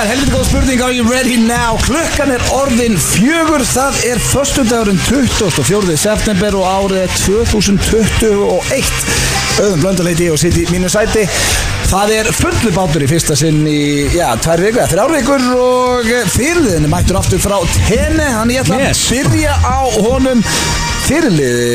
er helviti góð spurning Are you ready now? Klukkan er orðin fjögur Það er förstundagurinn 24. september og árið er 2021 Öðum blöndaleiti og sitt í mínu sæti Það er fullu bátur í fyrsta sinn í, já, tvær viku, eða þrjár vikur og fyrirliðin er mættur aftur frá tenni, hann ég ætla Yes. að byrja á honum fyrirliði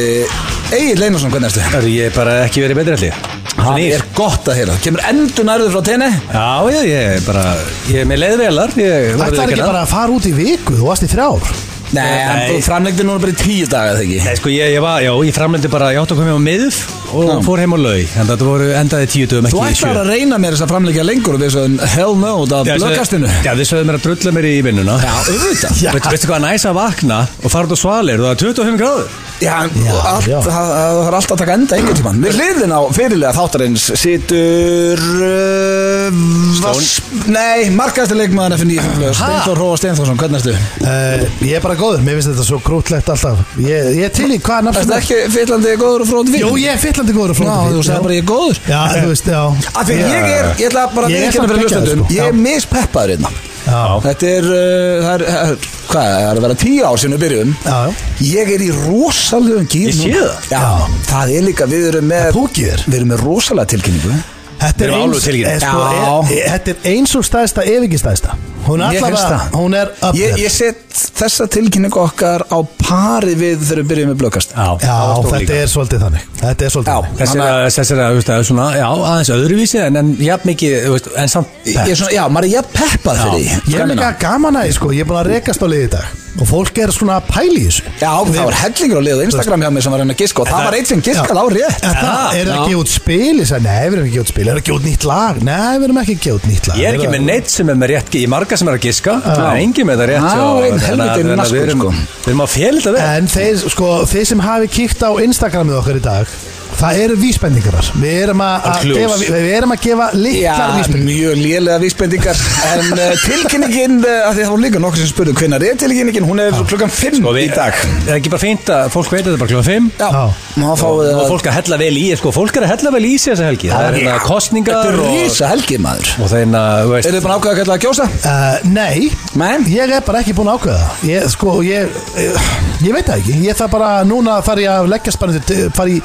Egil Einarsson, hvernig erstu? Það er ég bara ekki verið betri allir Það er gott að heyra, kemur endur nærður frá tenni Já, já, ég er bara, ég er með leiðvelar Þetta er ekki bara að fara út í viku, þú varst í þrjár Nei, hann Nei. framlegdi núna bara í tíu daga eða ekki Nei, sko, ég, ég var, já, ég framlendi bara, ég átti að koma heim á miðf og Já. fór heim á laug En þetta voru endaði tíu dögum, Þú ekki í sjö ætlar að reyna mér þess að framleggja lengur og við sögum hell no út af Já, þið sögðu- blöggastinu Já, þið sögðu mér að drulla mér í vinnuna Já, auðvitað Veitu- Veistu hvað næs að vakna og fara út á svalir og það er 25 gráður Já, Já, allt, já. það það þarf alltaf að taka enda einhvern tímann Við hliðin á fyrirlega þáttarins situr uh, Vass- Nei, markaðasti leikmaður fyrir nýjum Steinþór Róa Steinþórsson, hvernig ertu? Uh, ég er bara góður, mér finnst þetta svo grútlegt alltaf Ég, ég til í hvað nafn sem Ertu er ekki fyllandi góður og fróndi Jú, ég er fyllandi góður að Já, flóta þú sagði bara ég er góður Já, þú veist, já Af því ég er, ég ætla bara að Ég viðurkenna er samt fyrir geggjaður, hlustendum, sko. Ég er Já. mispeppaður hérna Já, Þetta er, uh, það er, það er, hvað, það er að vera tíu ár sem við byrjum já, já Ég er í rosalegum gýr Ég sé það. Já, það er líka, við erum með púkið Við erum með rosalega tilkynningu Þetta Við er erum alveg eins, tilkynnt. eh, sko, Já. eh, eh, þetta er eins og stæðsta ef ekki stæðsta Hún er Mér finnst allavega, það. hún er up Ég, there ég set þessa tilkynningu okkar á pari við þegar við byrjum með blökast Já, þetta er svolítið þannig Þetta er svolítið Já. þannig Þessir að, þessir að, þú veist, það er svona, já, aðeins öðruvísi en, en jafn mikið, þú veist, en samt Ég er svona, já, maður er jafn peppað fyrir því Ég er skammina. líka gaman að, því, sko, ég er búin að rekast á liði í dag Og fólk er svona að pæli í þessu Já, það var hellingur á liðu Instagram hjá mig sem var henni að giska og það var eitt sem giskað á rétt Þetta er já. ekki út spil, ég sagði, nei, við erum ekki út spil, er ekki út nýtt lag, nei, við erum ekki ekki út nýtt lag. Ég er ekki með neitt sem er með rétt Ég er marga sem er að giska Það er engin með það rétt Já, og- einn þannig að- helviti þannig að naskur, Við erum- sko. við erum að félita við En þeir, sko, þeir sem hafi kíkt á Instagramið okkar í dag Það eru vísbendingarar Við erum að, Og að clues. gefa, við erum að gefa litlar Já, vísbendingar mjög lélega vísbendingar En uh, tilkynningin, uh, af því það var líka nokkur sem spurðu Hvenær er tilkynningin? Hún er klukkan 5 Og í við- dag Það er ekki bara fínt að fólk veit að þetta er bara kljóða 5 Já, Já. má fáið Og að fólk að hella vel í sko, Fólk er að hella vel í sig þessa helgi Það er hérna Þetta kostningar er og, rísa helgi maður og þeirna, þú veist Eru þið búin að ákveða að kalla að kjósa? uh, Nei, Nei ég er bara ekki búin að ákveða það. Ég, sko, ég, ég, ég veit það ekki Ég þarf bara, núna þarf ég að leggjast bara undir- fara í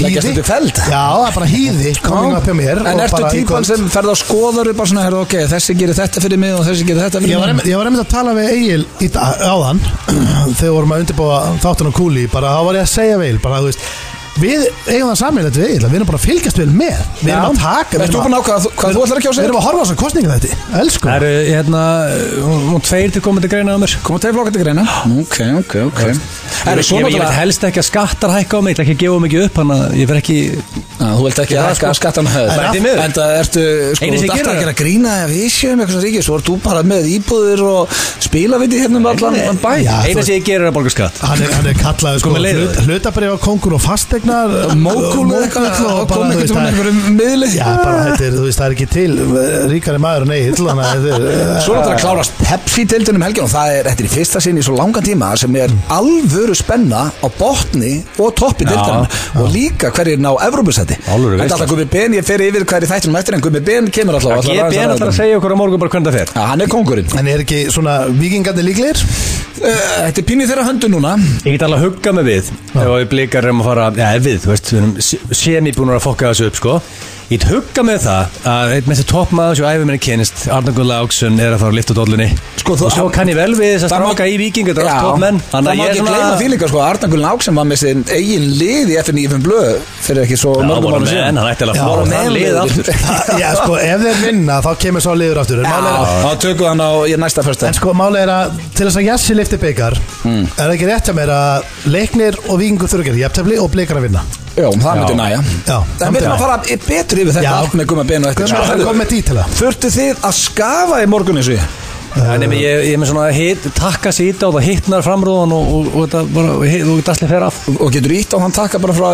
hýði Leggjast undir feld? Já, það er bara hýði Koming upp hjá mér En og ertu bara í típan kvöld. sem ferð á skoðar bara svona, herrðu, ok, þessi gerir þetta fyrir mig og þessi gerir þetta Ég fyrir var, mig einmitt, ég var einmitt að tala við Egil í dag, áðan þegar við vorum að undirbúa þáttun og kúli bara þá var ég að segja við Egil bara, þú veist, við eigum það sammeilegt við Egil að við erum bara að fylgjast vel með við erum að taka við Ertu erum búin að ákveða þú- hvað þú ætlar að kjósa? við erum að horfa á svo kostninga þetta elsku Það eru hérna Hún hún tveir til komandi greina á mér Koma tveir flokkar til greina Ok, ok, ok Ég, Ertu ég, svo ég vil náttúrulega helst ekki að skattar hækka á mig Það ekki að gefa mikið upp Þannig að ég verð ekki Á, Þú vilt ekki Ég- hækka sko- skattan höfð Nei, því miður. En það ertu, sko, þú Einu sem ert gerir alltaf að það. gera grína ef við séum eitthvað ríkis Svo ert þú bara með íbúðir og spilaviti hérna um allan allan bæ Já, þú Eina veist- sem ég gerir er að borga skatt hann er, hann er kallaði sko með leiðir. hlut, hlutabrið á kongur og fastegnar Mókul með eitthvað og kom ekkert um einhverjum miðli Já, bara þetta er, þú veist, það er ekki til eh, ríkari maður en Egil þannig að þetta er Svo er þetta að klárast Pepsi-deildin um helgin og það er, þetta er í fyrsta sinni í svo langan tíma sem er alvöru spenna á botni og toppi deildin og líka hverjir ná Evrópusæti Alvöru Þetta er veisla. alltaf Gumi Ben, ég fer yfir hverjir þættinum eftir en Gumi Ben kemur alltaf Ég er björn alltaf að segja okkur á morgun bara hvernig það fer Já, hann er kongurinn En er ekki svona vikingarnir líklegir? Eh, Þetta er pínu í þeirra höndu núna Ég get alveg að hugga mig við ef við blikar erum að fara, já ef við, þú veist, við erum semibúnur að fokka þessu upp sko Ég get hugga mig við það að einn mest toppmaður sem æfum minni kynist, Arnar Guðla Áksson er að fara að lifta dollunni Sko, þú- og svo kann ég vel við þess að Það má- stráka í viking, þetta er allt Já, toppmenn Það má ég ekki gleyma því líka sko Arnangul Nák sem var með sinn eigin lið í FNÍFM blöð fyrir ekki svo Já, mörgum voru árum með, síðan en hann ætti alveg Já, að voru fá það með lið liðið. aftur Já, sko, ef þeir vinna þá kemur sá liður aftur En málið er- Já, þá tökum við hann á í næsta fyrsta En sko málið er að til þess að Jassi lifti byggar er það ekki rétt hjá mér að leiknir og vikingur þurrugir jafntefli og blikar að vinna Já, það myndi næja Já. En við erum að fara betur yfir þetta Já. allt með gumma beinu eftir Gumma, það kom með dítila. Þurftu þið að skafa í morgun eins og ég? Þannig að ég ég er með svona hit, takka sér ít á það, hittnar framrúðan og, og, og, þetta bara- og, hit- og dasli fer af Og getur ítt á hann taka bara frá,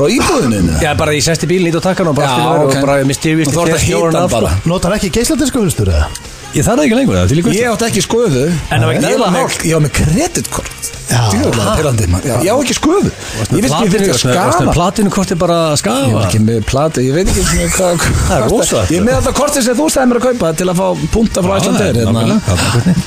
frá íbúðinu Já, bara ég sest í bílinn ít á takkan og bara Já, allt í lagi ok. og bara Og mysterious þú ert að hita hann bara. Notar ekki geisladinsku hulstur eða? Ég þarf það ekki lengur, það er til í Ég átti ekki skoðu En það var Ég ekki eðlilega með- hált. Ég var með kreditkort Já. Djúðlega pyrrandi Ég á ekki skoðu Ég veist ekki fyrir að Vastu skafa platinu korti bara Ég að var skafa ekki með plati, ég veit ekki svona hvað Það er rosalegt. Ég er með þetta kortið sem þú sagði mér að kaupa til að fá punta frá hérna. Íslandeir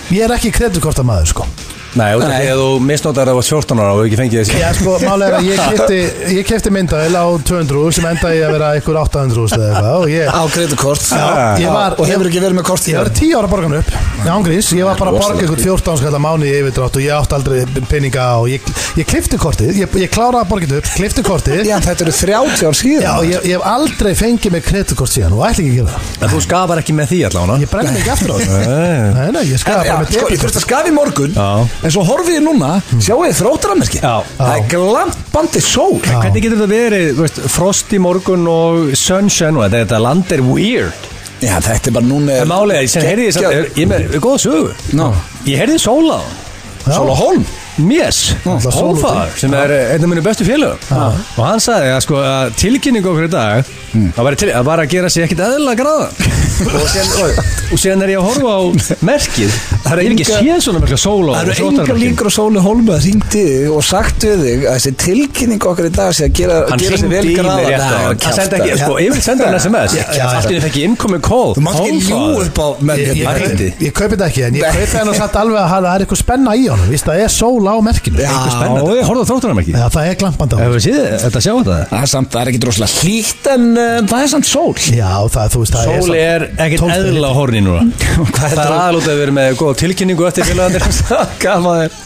Ég er ekki kreditkorta maður sko Nei, út af því að þú misnotar að það var 14 ára og hefur ekki fengið þessi Já, sko, málega er að ég kefti, ég kefti myndavel á 200 sem endaði í að vera einhver 800 eða eitthvað og ég, Á kreditkort Já, ég var- Og hefur ekki verið með ég kortið hérna. var 10 ára borgan upp í ángrís, ég var bara að borga Rosalegt. einhvern 14 skall að mánu í yfirdrátt og ég átti aldrei peninga og ég, ég klifti kortið, ég, ég kláraði að borga þetta upp, klifti kortið Já, þetta eru 30 ár síðan Já, og ég, ég hef aldrei fengið mig kreditkort síðan og ætla ekki að gera það En þú skafar ekki með því allavega Ég brenni mig ekki aftur á það Nei. Nei, nei, ég En, skræði já, bara sko, ég með þurfti debitkort að skafi í morgun Já. En svo horfið ég núna Sjáu ég þróttaramerki Já. Það er glampandi sól Hvernig getur þetta verið, þú veist, frost í morgun og sunshine og þetta, þetta land er weird Já, þetta er bara núna En málið er, sem heyrði ég samt, ég- ég er með góða sögu Ná. Ég heyrði sóla á hann. Sóla Holm Mies, Náttúrulega Hófaðar sem er eh, einn af minni bestu félögum og hann sagði að, sko, að tilkynning okkur í dag Hmm. það var, til, að var að gera sig ekkit eðlilega gráða og, síðan- og, og síðan er ég að horfa á merkið það er ekki enga- séð svona merkið sól á Það eru engar líkur á Sóli Holm að ringdi þig og sagt við þig að þessi tilkynning okkar í dag sé að gera, hann gera sig vel hringdi í mig gráða rétt á Nei, hann. hann sendi ekki, kjafta. sko, yfir sendi hann sms Já, já, allt í henni fekk ég innkomið kól Þú mátt ekki ljú upp á menn Ég, ég, hérna. hringdi. ég, ég kaupi þetta ekki, en ég kaupi það nú satt alveg að það er eitthvað spenna í honum, víst, það er sól á merkinu Já. Einhver- spennandi og ég horfði á þróttunarmerkið Já, það er glampandi á hefur við séð þetta sjá þetta Það er samt, það er ekki droslega hlýtt en uh, það er samt sól Já, það, þú veist, það er Sól samt- er ekkert 12 eðla á horni núna Það er aðalút að vera með góða tilkynningu eftir félagandir Gaf að þér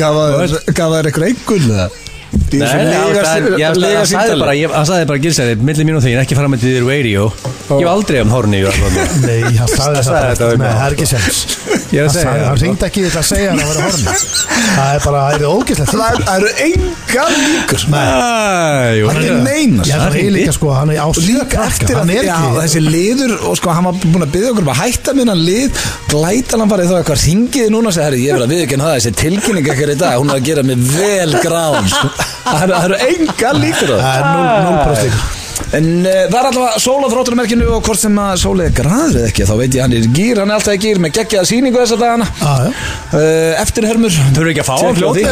Gaf að þér gaf að þér einhver einhvern það Nei, nei, það er- ég- hann sagði bara, ég- hann sagði bara gilsæri, milli mín og þín, ekki fara með því þér radio Ég hef aldrei um horni í öllu. Nei, hann sagði það sagði þetta bara við Nei, mig. það er ekki sens Ég er að Hann segja sagði- það. Hann ringdi ekki þetta að segja hann að vera horni Það er bara, það er ógislegt Það er- það eru engar líkur Æ, jú, Það er hann er- neinar Ég hann er hringdi. líka sko, hann er á Og sjö líka krakka, eftir Hann að er já, ekki þessi liður og sko hann var búin að byggja okkur um að hætta minna lið glæta hann farið þá eitthvað ringiði núna og segja herri ég verð að viðkynna það þessi tilkynning ekkert í dag hún er að gera mig vel grán það eru- það eru enga líkur á Það er 0% líka það en uh, það er alltaf sól á þróttunarmerkinu og hvort sem að sól er græður eða ekki þá veit ég hann er í gýr hann er alltaf í gýr með geggjaða sýningu þessa dagana Já, Ah, já. uh, eftirhermur Þau eru ekki að fá Tjekk á hann því. fljótið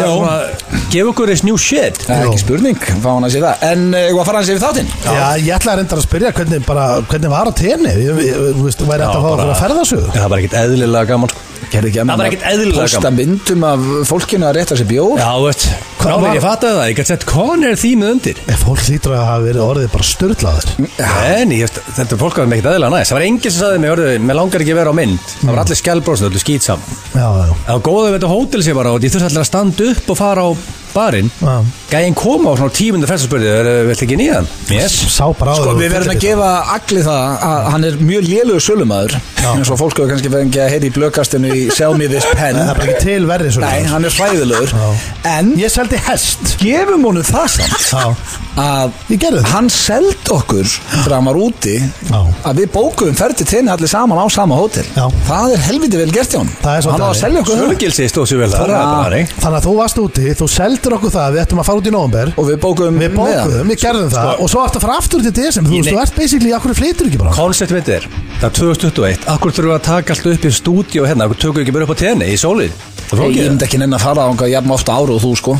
Já. Gef okkur þess new shit það er ekki spurning fá hann að sé það en uh, ég var að fara hans yfir þáttinn Já, ég ætla að reynda að spyrja hvernig, bara, hvernig var á tenni Ég ég- þú veist, væri Já, þetta að fá bara- okkur að ferða Já, Það var ekkert eðlilega gaman sko. Gerði ekki annað Það en var að ekkert eðlilega Posta myndum af fólkinu að rétta sér bjór Já, þú veist Hvað Hvað var- var ég fattaði það? Ég gæti sett Conner þýmið undir Fólk hlýtur að hafa verið orðið bara störtlaður Mm. En ég, veist, þetta er fólk að það er ekkert eðlilega næst Það var enginn sem sagði mig, orðið, mér langar ekki að vera á mynd Það var allir skjálbrósn, allir skýt Já, já, Það var góðið við þetta hótel sem ég var á Ég þurfti alltaf að standa upp og fara á barinn Já. Gæinn kom á svona tímundu fyrst og spurði "Er- Viltu ekki nýjan? Yes sá bara á Sko, þér og við verðum að fyllir- gefa allir það að hann er mjög lélugur sölumæður eins og fólk hefur kannski fengið að heyra í blökastinu í Sell Me This Pen Það er bara ekki til verri svo Nei, hann er hræðilegur Já. En Ég seldi hest gefum honum það samt Já, að ég gerði það hann seld okkur þegar hann var úti Já. að við bókuðum ferdi tenni allir saman á sama hótel Já. Það er helviti vel gert hjá hann Það er svolítið Hann á að þannig. selja okkur það Sörgilsi stóð sér vel Það- það Það Þannig að þú varst úti, þú seldir okkur það að Við ættum að fara út í nóvember Og við bókuðum Við með hann. Sko- bókuðum, við gerðum það Og svo ertu að fara aftur til DSM Þú veist, Nei. þú ert basically, akkur flytur ekki bara Koncept mitt er, það er 2021 Akkur þurfum við að taka allt upp í stúdíu hérna Akkur tökum við ekki bara upp á tenni í sólið Það Ég er myndi ekki nenni að fara á hann jafn ofta ára og þú sko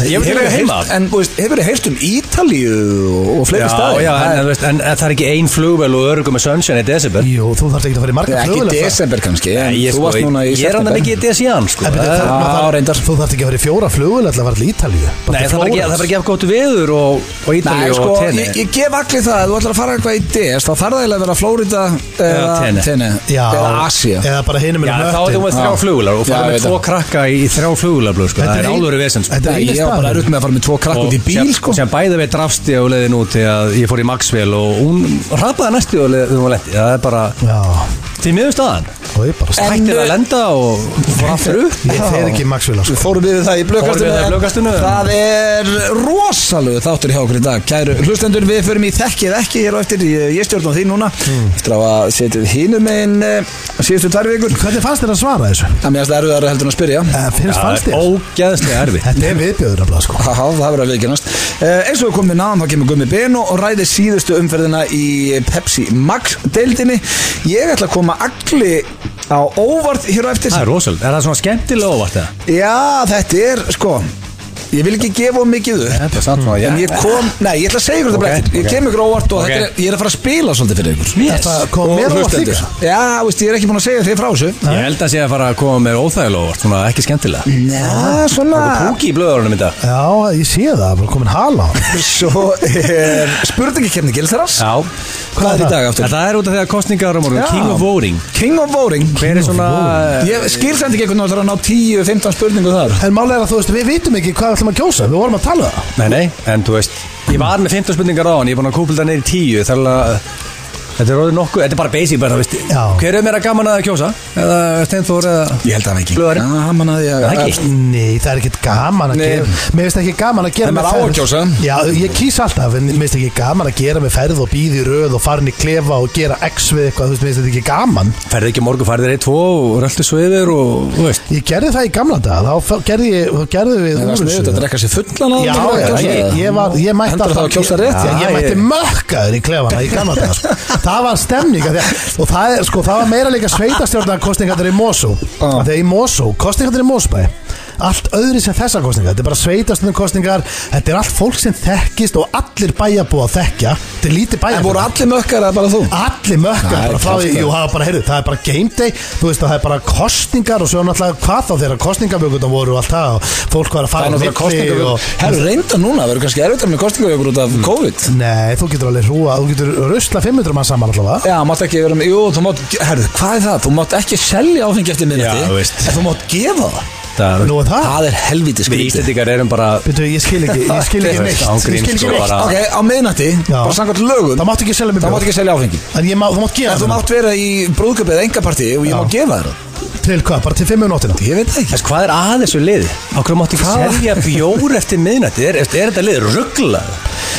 Ég myndi Hefurðu vera heima. heyrt- En þú veist, hefur þið heyrt um Ítalíu og, og fleiri Já, staði já, en, en, þú veist, en, en það er ekki ein flugvel og örugum með sunshine í desember Jú, þú þarft ekki að fara í marga Ekki flugvélar sko. það. desember kannski en Ég, Þú sko, varst núna í ég er hann september. ekki í DSIAN sko. En byrju, Það- það- Já, maður reyndar. þarf- Þú þarft ekki að fara í fjóra flugvél Það var allir Ítalíu Nei, það er bara ekki- það er bara ekki að hafa gótt veður og, og Nei, Ítalíu sko, og tenni ég, ég gef allir það að þú ætlar að fara eitthvað í DS þá þarf það eiginlega að vera Flórida eða Tenerife. Tenni Já, eða Asia Eða bara hinum um Já, þá er þú með þrjá Já. flugular og Já, fara ég með veit tvo það. krakka í þrjá flugularblöð sko. Þetta það er er ein- álverið vesens sko. þetta er Nei, eini ég var bara staðurinn. erutt með að fara með tvo krakk út í bíl sem, sko sem bæði við drafsti á leiðin út því að ég fór í Maxwell og hún rapaði næstu á leiðin og lendi um það er bara Já, því miður staðan og og ég bara stæk Hættir að lenda og fór aftur upp Ég fer ekki í Maxwell sko. Við fórum við það í Fórum við það blökastunum í blöðkastinu. en Það er rosalegu þáttur hjá okkur í dag Kæru hlustendur, við förum í þekkið ekki hér á eftir Ég ég stjórna því núna Eftir að hafa setið hínum einn eh, síðustu tvær vikur Hvernig fannst þér að svara þessu? Það mér finnst það erfiðara heldur en að spyrja Eh, Finnst fannst Það er þér? ógeðslega erfitt Þetta er viðbjöður nefnilega sko Há, það verður að viðkennast uh, eins og við komum við náðan þá kemur Gummi Beno og ræðir síðustu umferðina í Pepsi Max deildinni ég ætla að koma allir á óvart hér á eftir Það er rosalega, er það svona skemmtilega óvart það? já þetta er sko ég vil ekki gefa of mikið upp Þetta er samt svona, en ég kom nei ég ætla að segja ykkur þetta Ok, bara eftir ég ok. kem ykkur á óvart og Ok. þetta er, ég er að fara að spila svolítið fyrir ykkur Yes. Þetta kom Og mér á óvart hlustendur. líka já veist ég er ekki búin að segja þið frá þessu Ég held að sé að fara að koma mér óþægilega óvart, svona ekki skemmtilega já svona Púki í blöðarunum í dag Já, ég sé það, bara komin hala á hann. svo er spurningakefni Gilþarars Já, hvað er í dag En aftur það er út af því að kostningar á morgun, Já. King of Voting King of Voting Hver er svona, Ég skil samt ekki einhvern veginn að það er að ná 10-15 spurningu þar En málega er að þú veist, við vitum ekki hvað við ætlum að kjósa Við vorum að tala um það nei nei, en þú veist Ég var með 15 spurningar á hann, ég er búin að kúpla það neyri 10 Þar að, þetta er orðið nokkuð, þetta er bara basic bara, þú veist Já. Hver er meira gaman að kjósa? Eða Steinþór eða Ég held að það ekki Blöðari. Já, hann mannaði að Það ekki Nei, það er ekkert gaman að Nei. gera Mér finnst ekki gaman að gera En með maður á að kjósa. Já, ég kýs alltaf En mér finnst ekki gaman að gera með ferð og býði röð Og farin í klefa og gera x við eitthvað Þú veist, mér finnst þetta ekki gaman Ferði ekki á morgun, farið þér 1-2 og röltu svo yfir og, þú veist Ég gerði það í gamla dag Þá f- gerði, ég, þá gerði við Það var úrvinnslu. sniðut að drekka sér fullan á Já, já, ég, ég var, ég mætti Heldur það að kjósa rétt? Já, ég Já, mætti ég- mökkaður í klefana í gamla dag sko. Það var stemning af því að, Og það, er, sko, það var meira líka sveitastjórnar kostningarnir í Mosó Ah. Af Því að í Mosó, kostningarnir í Mosbæ Allt öðri sem þessar kostningar Þetta er bara sveitastjórnar kostningar Þetta er allt fólk sem þekkist og allir bæjarbúa þekkja Þetta er lítið En voru bæjarbúa allir mökkar eða bara þú? Allir mökkar Nei, bara frá því, kjaftaði. jú, það var bara, heyrðu, það er bara game day, þú veist að það er bara kostningar og svo er náttúrulega hvað þá þegar kostningabökundan voru og allt það og fólk var að Það fara er á náttúrulega milli og- Mm. kostningavegur Herru, reynda núna, verður kannski erfitt með kostningavegur út af COVID Nei, þú getur alveg hrúa, þú getur rusla 500 mann saman allavega Já, mátt ekki vera með, jú, þú mátt, herru, hvað er það? Þú mátt ekki selja áfengi eftir Já, þú minnati veist. En þú mátt gefa það Það er Nú er það, Það er helviti Við skrítið Íslendingar erum bara betur ég skil ekki, ég skil ekki Þú neitt veist, Ég skil ángríns, ekki sko, neitt bara- Ok, á miðnati, Já. bara samkvæmt lögum Það máttu ekki selja mig Þá mátt bjóð ekki selja áfengi En ég má, þú mátt En gefa þú það mátt vera í brúðköpi eða engaparti og ég má gefa þér það Til hvað, bara til 5 um nóttina Ég veit það ekki Þess, hvað er að þessu liði? Á hverju máttu ekki Hvað? selja bjór eftir miðnætti? Er, er, er þetta lið rugglað?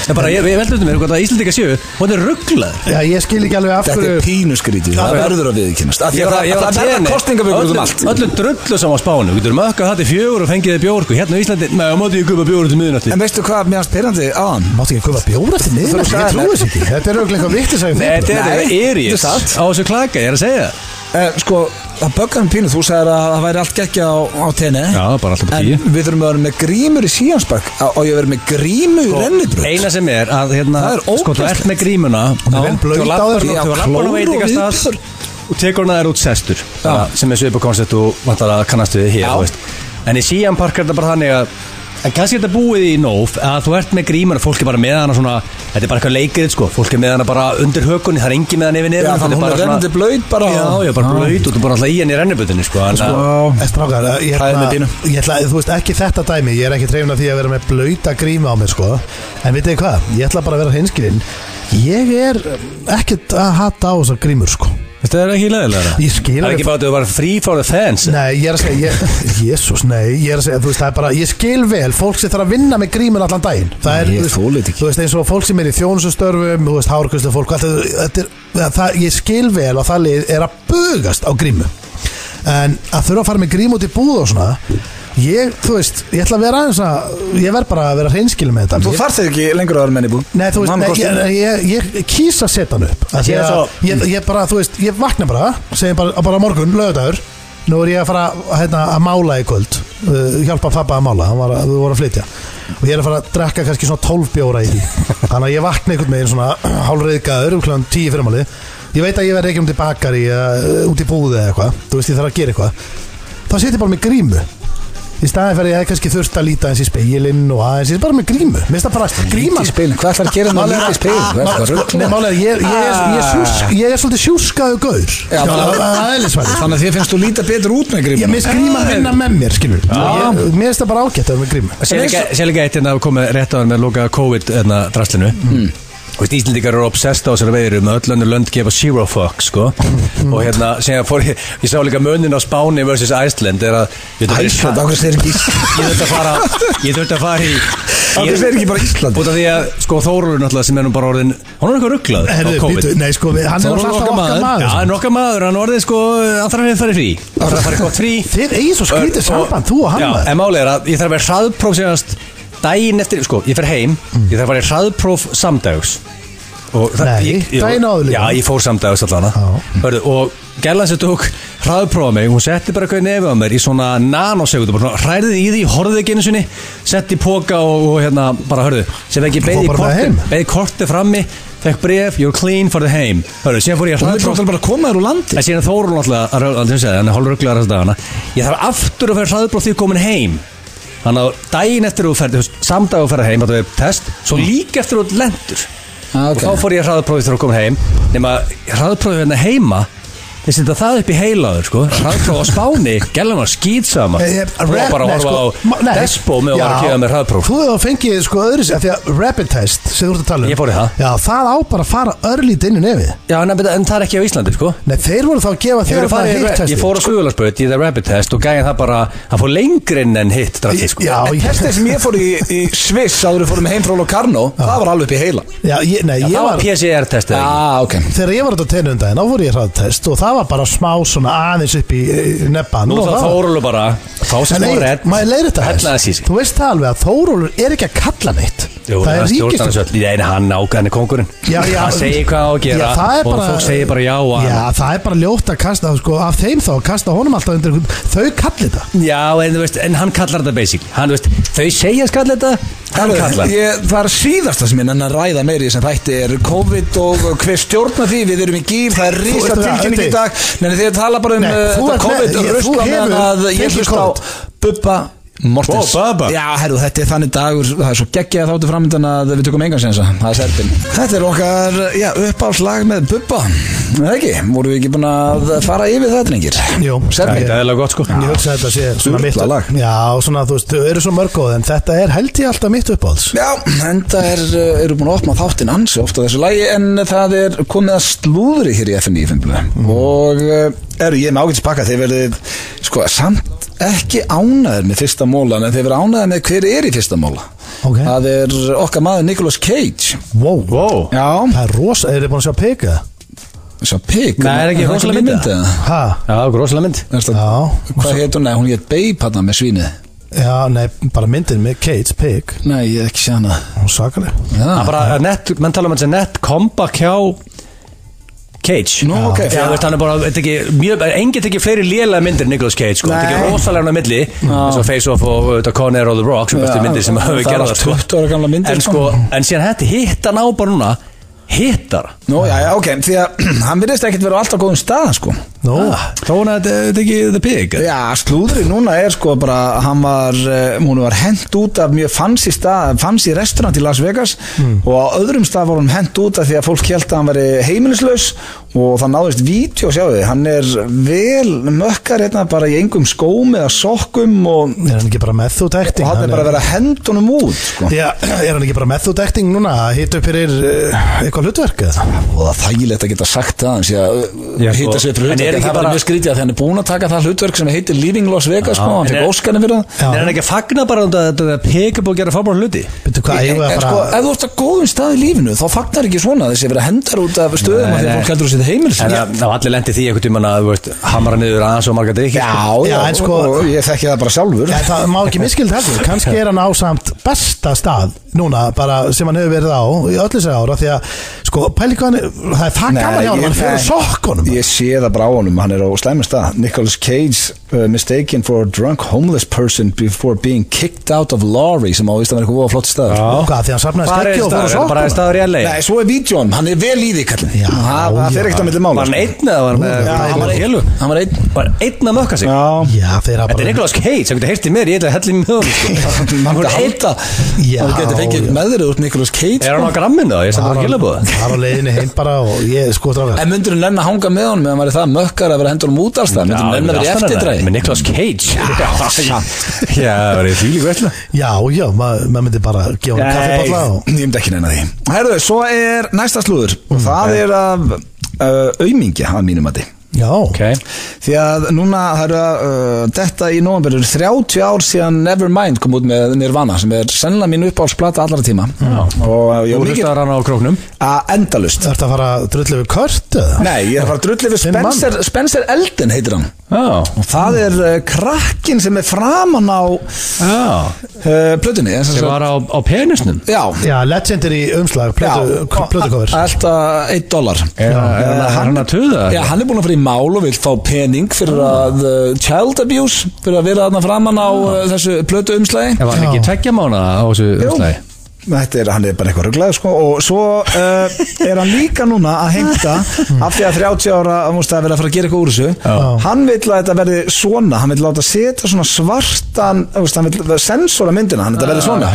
Það er bara, ég, um ég veldur mér hvað það Íslandika séu og þetta er rugglað Já, ég skil ekki alveg af Þetta er hverju pínusgrítið, það Já. verður að viðkynast Af því að Það það verða kostningabökur um allt Öllum drullu saman á spánu, við getum ökkað það til fjögur og fengið þið bjór sko. Hérna á Íslandi, neða, máttu ég kupa bjór eftir miðnætti En veistu hvað mér hans pyrrandi aðan? Máttu ekki kaupa bjóð eftir miðnætti, Þú sagði ég trúi mér. þess ekki Þetta er auðvitað eitthvað vittis að ég Nei, Þetta er Nei, eitthvað þetta er erjus satt. á þessu klaka, ég er að segja það. Eh, sko, það böggar um pínu, þú sagðir að það væri allt gekkja á, á tenni Já, bara alltaf En tíu við þurfum að vera með grímur í síjansbakk Og ég verið með grímu Sko, í rennibröð Eina sem er að hérna, Það er sko, þú ert ógeðslegt. með grímuna er vel blöyt Þú á lappar- þér, sko. Þú Já, lappar á klór og veitingastað viðbjör. og tekur hana þær út sestur það, sem er svipað koncept og vantar að kannast við hér Já. þú veist. en í síðan parkar þetta bara þannig að en kannski er þetta búið í nóf að þú ert með grímuna, fólk er bara með hana svona þetta er bara eitthvað leikrið sko, fólk er með hana bara undir hökunni, það er engin með hana yfir Já, nefnum þannig hún er rennandi blöyt bara já, já, bara blöyt og þú er bara alltaf í henni í rennibutinni Ah. sko, en að- En Strákar, ég Það er með ætla, pínu. ég ætla, þú veist ekki þetta dæmi Ég er ekki trefna því að vera með blauta gríma á mér sko En vitið þið hvað, ég ætla bara að vera hinskilinn Ég er ekkert að hata á þessar grímur sko þetta er ekki leðilega Ég skil það er alveg- ekki bara að þú var free for the fans Nei, ég er að segja, ég, jésús, nei, ég er að segja, þú veist, það er bara, ég skil vel, fólk sem þarf að vinna með grímun allan daginn. Það er, Nei, ég þú veist, þoli þetta ekki. Þú veist, eins og fólk sem er í þjónusustörfum, þú veist, hárkurslu fólk, allt, þetta- þetta er, það, það, ég skil vel og það lið er að bugast á grímu. En að þurfa að fara með grím út í búð og svona, ég, þú veist, ég ætla að vera aðeins að, ég verð bara að vera hreinskil með þetta. Þú Ég- þarft ekki lengur að vera menn í búð Nei, þú veist, Mamma nei, kostar- ég, ég, ég, ég kýs að setja hann upp Af því Ég er að svo- ég, ég bara, þú veist, ég vakna bara segjum bara, bara morgun, lögadagur Nú er ég að fara hérna, að mála í kvöld uh, Hjálpa pappa að mála, hann var að, þú voru að flytja Og ég er að fara að drekka kannski svona 12 bjóra í því Þannig að ég vakna einhvern veginn svona hálfriðgaður um kláðan 10 fyrirmáli Ég veit að ég verð ekki um til bakari uh, út í búði eða eitthvað Þú veist, ég þarf að gera eitthvað þá setjum ég bara með grímu í staðin fyrir að ég hef kannski þurft að líta eins í speilin og aðeins, ég er bara með grímu Mér finnst það bara að gríma Lítið í speilin, hvað ætlar að gera með lítið í speilin? Hvað er það, rugl? Málega, ég, ég, sko, er, ég, er Ah. sjúsk, ég er svolítið sjúskaðu gaur Já, bara- aðeinsvæði Þannig að þér finnst þú líta betur út með Ég grímuna minnst gríma að vinna með mér, skilur ég, Mér finnst það bara ágætt að vera með grímu Mm. Sér líka- sér líka eitt hérna að koma rétt á hann með að lóka COVID hérna, drastlinu Þú veist, Íslendingar eru obsessed á þessari veiru með öll önnur lönd gefa zero fuck, sko Mm. og hérna, sem ég fór ég, ég sá líka munin á Spáni versus Iceland er að ég þurfti Ísland, að- okkur segir ekki Ísland ég þurfti að fara ég þurfti að fara í Okkur segir ekki bara Ísland út af því að, sko, Þórólur náttúrulega sem er nú bara orðin hún er eitthvað rugglað á Herðu, COVID býtu, nei sko, við- hann er Þórólfur alltaf okkar maður, Já, maður. hann er okkar maður, hann orðið sko hann þarf að fara í frí, hann þarf að fara í gott frí Þið eigið svo skrítið Ör- og- samband, þú og hann Já, maður. en málið er að ég þarf að vera hraðpróf síðanast daginn eftir, sko, ég fer heim ég þarf að vera í hraðpróf samdags og það, Mm. Nei, ég, ég, daginn áður líka. Já, ég fór samdags allan Já. Hörðu, og gerðan sem tók hraðprófa mig, hún setti bara eitthvað nefið á mér í svona nanosegundu, bara svona hræðið í því horfið ekki einu sinni, setti í póka og, og hérna, bara hörðu, sem ekki fór beði bara með korti, heim. beði korti frammi fekk bref, you're clean, farðu heim hörðu, síðan fór ég að Það er hraðpróf bara bara að koma þér úr landi En síðan Þórun alltaf að rögla, sem segja, hann er hálf röglaður þessa dagana Ég þarf aftur að fara hraðbróð því komin heim Þannig að daginn eftir þú ferð, þú veist, samdag þú ferð heim, þetta er test Svo Mm. líka eftir þú lendur Ah, ok. Og þá fór ég hraðbróði þegar þú komin heim Nefna hraðbróði hérna heima Þeir setja það upp í heilaður, sko Hraðbróð á Spáni, gæla hann að skýt sama Ég- Þú var bara að nei, sko, horfa á ma- nei. Despo með að Já, var að gefa mér hraðbróð Þú hefur fengið sko öðru sér, því að rapid test sem þú ert að tala um Ég fór í það. Já, það á bara að fara örlítið inn í nefið Já, en, en það er ekki á Íslandi, sko Nei, þeir voru þá að gefa Ég, þér að farið, það í hitt re- testi ég fór á Suðurlandsbraut í The Rabbit Test og gæði það bara, hann fór lengri inn en hitt drattið, sko. Já, En ég- testið sem ég fór í, í Sviss áður við fórum heim frá Locarno það var alveg upp í heila Já, ég, nei, ég Það var var PCR-testið ekki? ah, ok Þegar ég var þetta á tennu um daginn, þá fór ég hraðtest og það var bara smá svona aðeins upp í nebban Nú og það það var- Þórólu bara Þá sem En smá Egill, redd maður leiðir þetta Hellaði aðeins. sísk Þú veist það alveg að Þórólur er ekki að kalla neitt Það er ríkist ríkist Ég eini hann ákveðan er kóngurinn Já, já. Hann segir hvað á að gera Já, það er Og bara- fólk segir bara já og Já, það er bara ljótt að kasta sko, af þeim þá, kasta honum alltaf undir einhvern- þau kalli þetta Já, en þú veist, en hann kallar þetta basic Hann, þú veist, þau segja skall þetta Hann Herru, kallar ég, það er síðasta sem ég nenni að ræða meiri sem þætti er COVID og hver stjórna því við erum í gýr, það er rísa ert- tilkynning í Öddi. dag Nei, þið tala bara um Nei, uh, þú þetta ert með- COVID ég- og þú rusla meðan hefur að ég fengið hlust á COVID. Bubba Mortens Ó, Bubba. Já, herru, þetta er þannig dagur, það er svo geggjað þáttu framöndan að við tökum engan sensa, það er serpin Þetta er okkar, já, uppáhalslag með Bubba Er það ekki, vorum við ekki búin að fara yfir þetta lengir Jú. Serbin Þetta er eða gott, sko Ég hugsa að þetta sé svona mitt Sturla lag. Já, svona, þú veist, þau eru svo mörg góð en þetta er held ég alltaf mitt uppáhalds Já, enda er, uh, eru búin að opna þáttinn ansi ofta þessu lagi en það er komið að slúðri hér í FNI fimmlu og uh, eru ég er með ágætis pakka þeir verðið sko samt ekki ánaðir með fyrsta mólan en þeir verðið ánaðir með hver er í fyrsta móla Ok. það er okkar maður Nicolas Cage Wow, Wow Já, Það er rosa, eru þið búin að sjá pika? svo pík Nei, er ekki rosaleg mynd, Ha? Já, rosalega mynd myndið Já, Hvað heit hún? Nei, hún heit Babe hann með svínið já, nei, bara myndin með Kate, pig Nei, ég hef ekki séð hana Hún er sakaleg Það Já, bara nett, menn tala um hans að nett comeback hjá Cage Nú, ok. Já, þú veist, hann er bara, þetta er ekki, mjög, enginn tekið fleiri lélega myndir en Nicolas Cage, sko, þetta er Nei. ekki rosalega hann á milli, eins og Face Off og uh, Conner og The Rock, sem bestu Já, myndir sem það hafa eru gerað, allt sko 20 ára gamlar myndir, En sko. sko, en síðan hætti, hitt hann á bara núna, hittar Nú, já, já, ok, því að hann virðist ekkert vera á alltaf góðum stað, sko Nú, Þá hann að þetta ekki The Pig Já, slúðri núna er sko bara hann var, eh, hún var hent út af mjög fancy stað, fancy restaurant í Las Vegas og á öðrum stað var hún hent út af því að fólk held að hann veri heimilislaus og það náðist vídeo, sjáu þið, hann er vel mökkar hérna bara í engum skóm eða sokkum og, er hann ekki bara með þú og dekting? hann er bara að vera að henda honum út sko. Já, er hann ekki bara með þú dekting núna að hita upp fyrir uh, eitthvað hlutverk eða? og það er þægilegt að geta sagt það hans að Já, uh, sko. hýta sig fyrir hlutverk En er ekki það var bara- mjög skrítið að þegar hann er búin að taka það hlutverk sem heitir Living Las Vegas sko, hann en tek er- óskarinn fyrir það Já. Er hann ekki að fagna bara um þetta The Pig er búið að gera fárbár hluti? Býttu hvað, En eigum við að sko, fara ef þú ert að góðum stað í lífinu þá fagnar ekki svona þessi verið að hendar út af stöðum Nei, af því að nei. fólk heldur að setja En heimilislaus. það það var allir lendið því einhvern tímann að, þú veist, hamra niður aðeins og marga drikki Já, já, Já, en sko- og ég þekki það bara sjálfur Já, það má ekki miskildi heldur, kannski er hann á samt besta stað núna bara sem hann hefur verið á í öllu sér ára því að sko pæli hvað hann, er- það er það Nei, gaman hjá hann, ég- hann fyrir nei. sokkunum Ég sé það bara á honum, hann er á slæmum stað Nicolas Cage uh, mistaken for a drunk homeless person before being kicked out of lorry sem á því að vera eitthvað voða flott stað Já. Og Hvað því hann safnaði Bara skeggi og fyrir bara sokkunum staður í LA Nei, svo er vídjón, hann er vel í því kallinn Já, Það það já. fer ekkert á milli mála Var hann sko. einn eða var hann með Já, hann var einn Hann var einn Var einn að mökka sig Já Já, þeir hafa Þetta er bara Nicolas Cage, sem getur heyrtið mér, ég ætla að hella í mjög Man myndi halda Já, að þú getur fengið já. með þér út Nicolas Cage Er sko. hann á gramminu þá? Ég sem bara Hann gilabóða var á leiðinni heim bara og ég sko dráðar En myndur hún nenn að hanga með honum eða maður er það mökk mökkar að vera að hendur um út alls það myndum menn að vera í eftirdræði Með Nicolas Cage Já, það var ég þvílík veitlega Já, já, maður ma myndi bara gefa hann Nei, kaffibólla og... ég myndi ekki neina því Herðu, svo er næsta slúður og það er af uh, aumingja að mínum að Já, Því að núna, það eru að uh, þetta í november eru 30 ár síðan Nevermind kom út með Nirvana sem er sennilega mín uppáhaldsplata allra tíma og uh, ég Þú var mikið hlustaði hann á króknum að endalust ertu að fara að drullu við kört eða? Nei, ég er að fara að drulli við Fimm mann. Spencer, Spencer Elden heitir hann Já, og það er uh, krakkin sem er framan á já uh, plötunni En sem Sem sagt- var á, á penisnum Já, Já, legendary umslag, já plötukofur Alltaf 1 dólar Er er hann- er hann að tuða? Já, hann er búinn að fara í mál og vil fá pening fyrir að uh, child abuse fyrir að vera þarna framan á uh, þessu plötu umslagi Ef hann ekki Já. tveggja mánu á þessu Jú. umslæði Þetta er, hann er bara eitthvað rugglega sko og svo uh, er hann líka núna að heimta af því að 30 ára að múst að vera að fara að gera eitthvað úr þessu Já. hann vil að þetta verði svona hann vil láta setja svona svartan þú veist, hann vil sensora myndina, hann vil þetta verði svona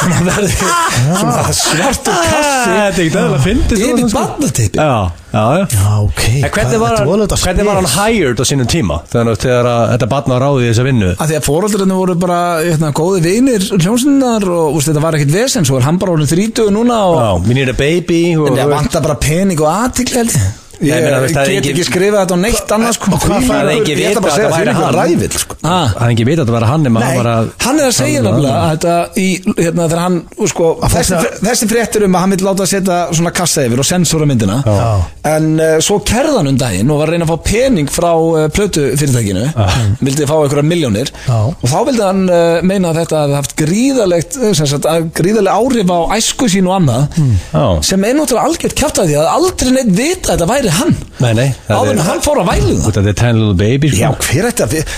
hann verði svona svartur kassi er ekki dæðilega fyndið yfir barnatippi Já, já, já Já, ok En hvernig hvað- var, þetta hann, auðvitað hvernig var hann spes. hired á sínum tíma þegar, þegar að, þetta batna á ráði í þessa vinnu að því að fóröldurinn voru bara hérna, góði vinir hljómsinnar og úst, þetta var ekkit vesen, svo er hann bara orðin 30 núna og Já, we need a baby og, En ég vantar bara pening og aðtikli held ég. Ég Nei, meina, veist, það er get engin- ekki skrifað þetta á neitt annars sko. Og hvað fær- engin Ég ætla vita bara að að segja það fyrir væri ykkur hann? Ah. ræðvill sko. Það er ekki vitað að þetta var hann nema Nei, hann var að hann er að segja nefnilega að þetta í, hérna, þegar hann, sko, Að fólk þessi, að- fr- þessi fréttir um að hann vil láta að setja svona kassa yfir og sensora myndina Já. en uh, svo kerði hann um daginn og var að reyna að fá pening frá uh, plötu fyrirtækinu vildi fá einhverja miljónir Já. og þá vildi hann uh, meina að þetta hafði haft gríðalegt eh, sem sagt, að gríðaleg áhrif á æsku sín og annað Hmm. Já. sem er náttúrulega algjört kjátt að því að aldrei neitt vita að þetta væri hann Nei, nei það áður en er- hann fór að vælu það Út af þetta er tiny little baby sko. Já, hver ætti að við...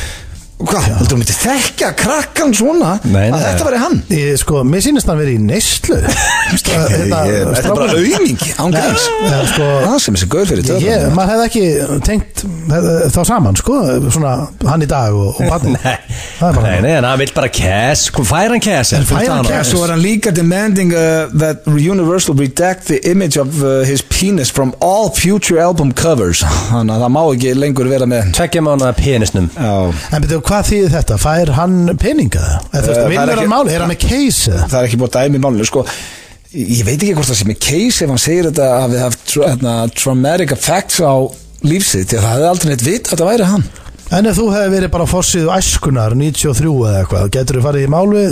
Hvað, heldur þú myndi þekka krakkan svona Nei, nei. að þetta væri hann? Ég, sko, mér sýnist hann verið í neyslu hérna, Þetta Ég- Þetta er bara auðning, ángæðis Já, sko, Það Ah, sem þessi gaur fyrir Ég, töðan maður hefði ekki tengt eh, þá saman, sko, svona hann í dag og, og barnið. Nei, Það er bara nei, nei, en hann vill bara cash Hvað fær hann cash? En fær hann cash? Svo er hann líka demanding uh, that Universal redact the image of uh, his penis from all future album covers Þannig að það má ekki lengur vera með Tveggja mánu að penisnum Já, En betur, hvað þýðir þetta? Fær hann peninga? Eh, Eða, þú það veist, er vinnur ekki- hann máli? Er hann með case? eða? það er ekki búið að dæmi í málinu sko Ég ég veit ekki hvort það sem er case ef hann segir þetta að við haft tra- hérna, traumatic effects á lífsið því að það hefði aldrei neitt vit að þetta væri hann En ef þú hefði verið bara fórsýðu æskunar 93 eða eitthvað, getur þú farið í máli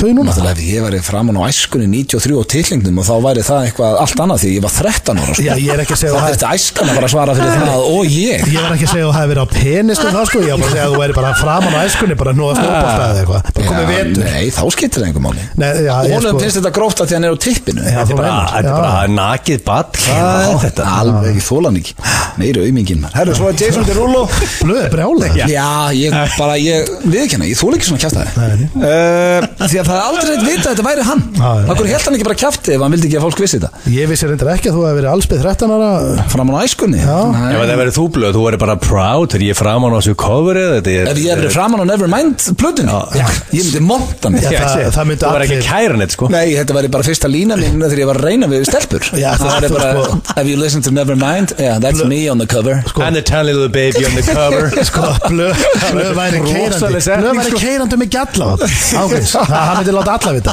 þau núna? Náttúrulega ef ég væri framan á æskunni 93 og titlingnum og þá væri það eitthvað allt annað því ég var 13 ára sko. Já, ég er ekki að segja Það að þurfti æskan að bara svara fyrir það og ég Ég var ekki að segja að þú hefði verið á penistum það sko, ég var bara að segja að þú væri bara framan á æskunni, bara nú eftir uppástæði eða eitthvað, bara komið Já, vetur. Nei, þá skiptir það einhver máli Nei, já, ég Honum sko, finnst þetta gróft að því hann er á tippinu Já, Þetta er þú bara, meinar. þetta er Já. bara nakið ball Hvað er þetta? Alveg ekki þólan ekki Meiri auðmingin maður Herru, svo er hérna. Jason Derulo blöð, brjálega. Já, ég bara, ég viðkjanna, ég þóla ekki svona kjaftaði Nei, uh, Því að það er aldrei eitt vita að þetta væri hann Já, já. Akkur held hann ekki bara kjafti ef hann vildi ekki að fólk vissi þetta Ég vissi reyndar ekki að þú hefði verið allsbyð 13 ára, Framan á æskunni Nei. Ef það verið þú blöð, þú verið bara proud Þegar ég er framan á þessu coverið Þetta er Ef ég hefði framan á Nevermind plötunni Ég myndi monta mig Já, Ég það- segi, það myndi Þú verið ekki allir- kæra neitt sko Nei, þetta væri bara fyrsta lína mín þegar ég var að reyna við stelpur Já, Það það væri er bara, sko- have you listened to Nevermind? Yeah, that's me on the cover And the tiny little baby on the cover sko, blöð, blöð væri Rosaleg keirandi, setning, blöð væri sko. keirandi með gjalla ángriðs, það myndi láta alla vita.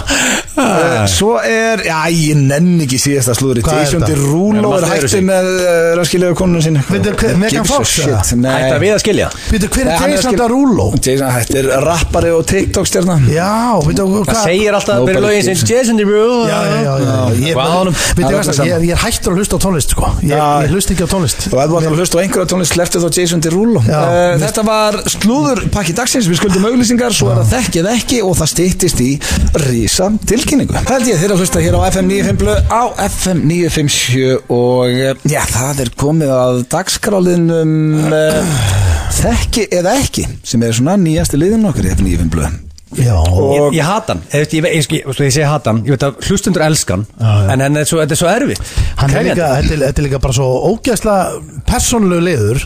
uh, Svo er, já, ég nenni ekki síðasta slúðri Hvað er Jason þetta? Derulo Nei, er maður hætti sig. með uh, raskilega konunum sín Veitir, hver- Megan Fox, eða? Ætti að við að skilja Býtu, hver er Jason Derulo? Jason, þetta er rappari og TikTok-stjarna Já, veitu, hvað? Það segir alltaf að byrja Nobody lögin keeps sem Jason Derulo Já, já, já, já. Ég, Hvað á honum? veitu, Það er allir hvað það, ég, saman. ég er hættur að hlusta á tónlist, sko. Ég, Já. ég hlusta ekki á tónlist. Og ef þú ætlar að hlusta á einhverja tónlist leftu þá Jason Derulo Já. uh, Þetta var slúðurpakki dagsins Við skuldum auglýsingar, svo er það þekkið ekki Og það styttist í rísa tilkynningu Held ég þeirra að hlusta hér á FM 95 blöð Á FM 957 Og eh, já, það er komið að dagskrálinum uh, Þekki eða ekki Sem er svona nýjasti liðin okkar í FM 95 blöð Já, Ég, ég hata hann, ég, ég, ég, ég, ég segi hata hann Ég veit að hlustundur elskan Já, já. En henni er svo, þetta er svo erfitt hann er Krefjandi. líka, þetta er- þetta er líka bara svo ógeðslega persónulegu liður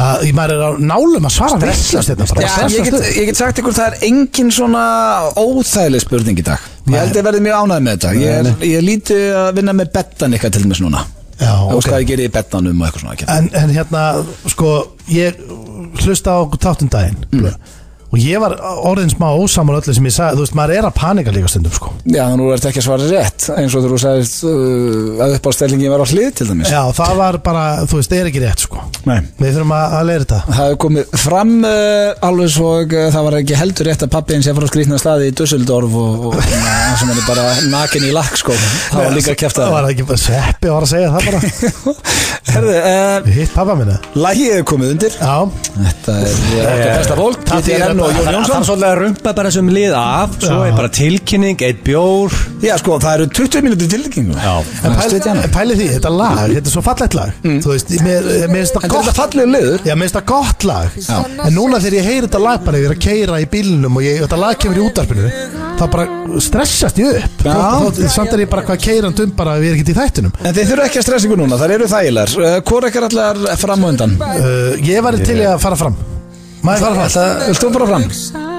að ég maður er á nálum að svara veitast hérna þetta hérna bara. Já, ég, stressast get, upp. ég get sagt ykkur það er engin svona óþægileg spurning í dag Ég held ég verði mjög ánægð með þetta Ég er, ég er lítið að vinna með bettan ykkar til dæmis núna Já, og ok. okay. hvað ég gerir í betnanum og eitthvað svona ekki. en, en hérna, sko ég hlusta á þáttun daginn og ég var orðin smá ósamur öllu sem ég sagði, þú veist, maður er að panika líka stundum, sko Já, þannig að þú ert ekki að svara rétt eins og þegar þú sagðist uh, að uppástellingin var á hlið til dæmis Já, það var bara, þú veist, það er ekki rétt, sko Nei. Við þurfum að, að leira þetta Það hefur komið fram uh, alveg svo uh, það var ekki heldur rétt að pappiðin sé frá skrýtna staði í Dusseldorf og, og na, sem hann er bara nakin í lakk sko það var líka að kæfta Það var ekki bara sveppi var að segja það bara Herðu, uh, Hitt pappa minna lagið hefur komið undir Já, Þetta er þetta besta fólk Það þýðir GTN og Jón að- Það það Jónsson er svolítið að rumpa bara sem lið af Svo Já. er bara tilkynning, eitt bjór Já sko, það eru 20 mínútur tilkynningu Já. en Það er pæli, stjæna. en pæli því, þetta lag, þetta er svo fallegt lag Þú veist, mér mér finnst það Mm. En þetta gott er fallið liður Já, mér finnst það gott lag En núna þegar ég heyri þetta lag bara Ég er að keira í bílnum og ég, þetta lag kemur í útarpinu þá bara stressast ég upp Já. Þó- þó- Samt er ég bara hvað keirand um bara ef Ég er ekki í þættinum En þið þurfa ekki að stressa ykkur núna, það eru þægilegar uh, Hvor er ekki allar fram og undan? uh, Ég var til ég að fara fram Maður fara fram Það, vilt þú bara fram?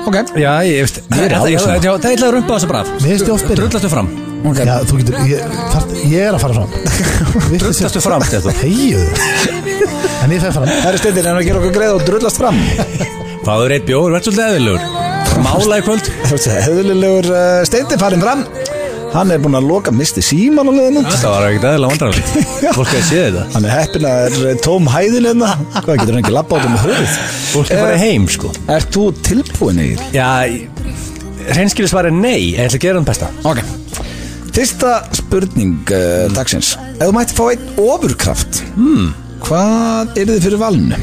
Ok, Já, ég veist Ég er Það alveg það- svona. já, það er illa að rumpa á þessu braf Mér finnst ég oft byrja Drullastu fram ok Já, þú getur, ég, þar, ég er að fara fram Drullastu fram, Stefán Heiðu En ég fer fram Það eru stundir en að gera okkur greið og drullast fram Fáður eitt bjór, verð svolítið eðilugur Mála í kvöld Hefðulegur uh, steindi farin fram Hann er búinn að loka misti síman á leiðinu Þetta var ekkert eðilega vandrarlega Fólk hefði séð þetta Hann er heppin að það er tóm hæðin hérna Hvað getur hann ekki labba út um höfuð Fólk er bara heim, sko Ert þú tilbúin Egil? Já, reynskilið svar er nei En ég ætla að gera hann besta Ok Fyrsta spurning uh, dagsins Ef þú mætti fá einn ofurkraft hmm. Hvað er þið fyrir valinu?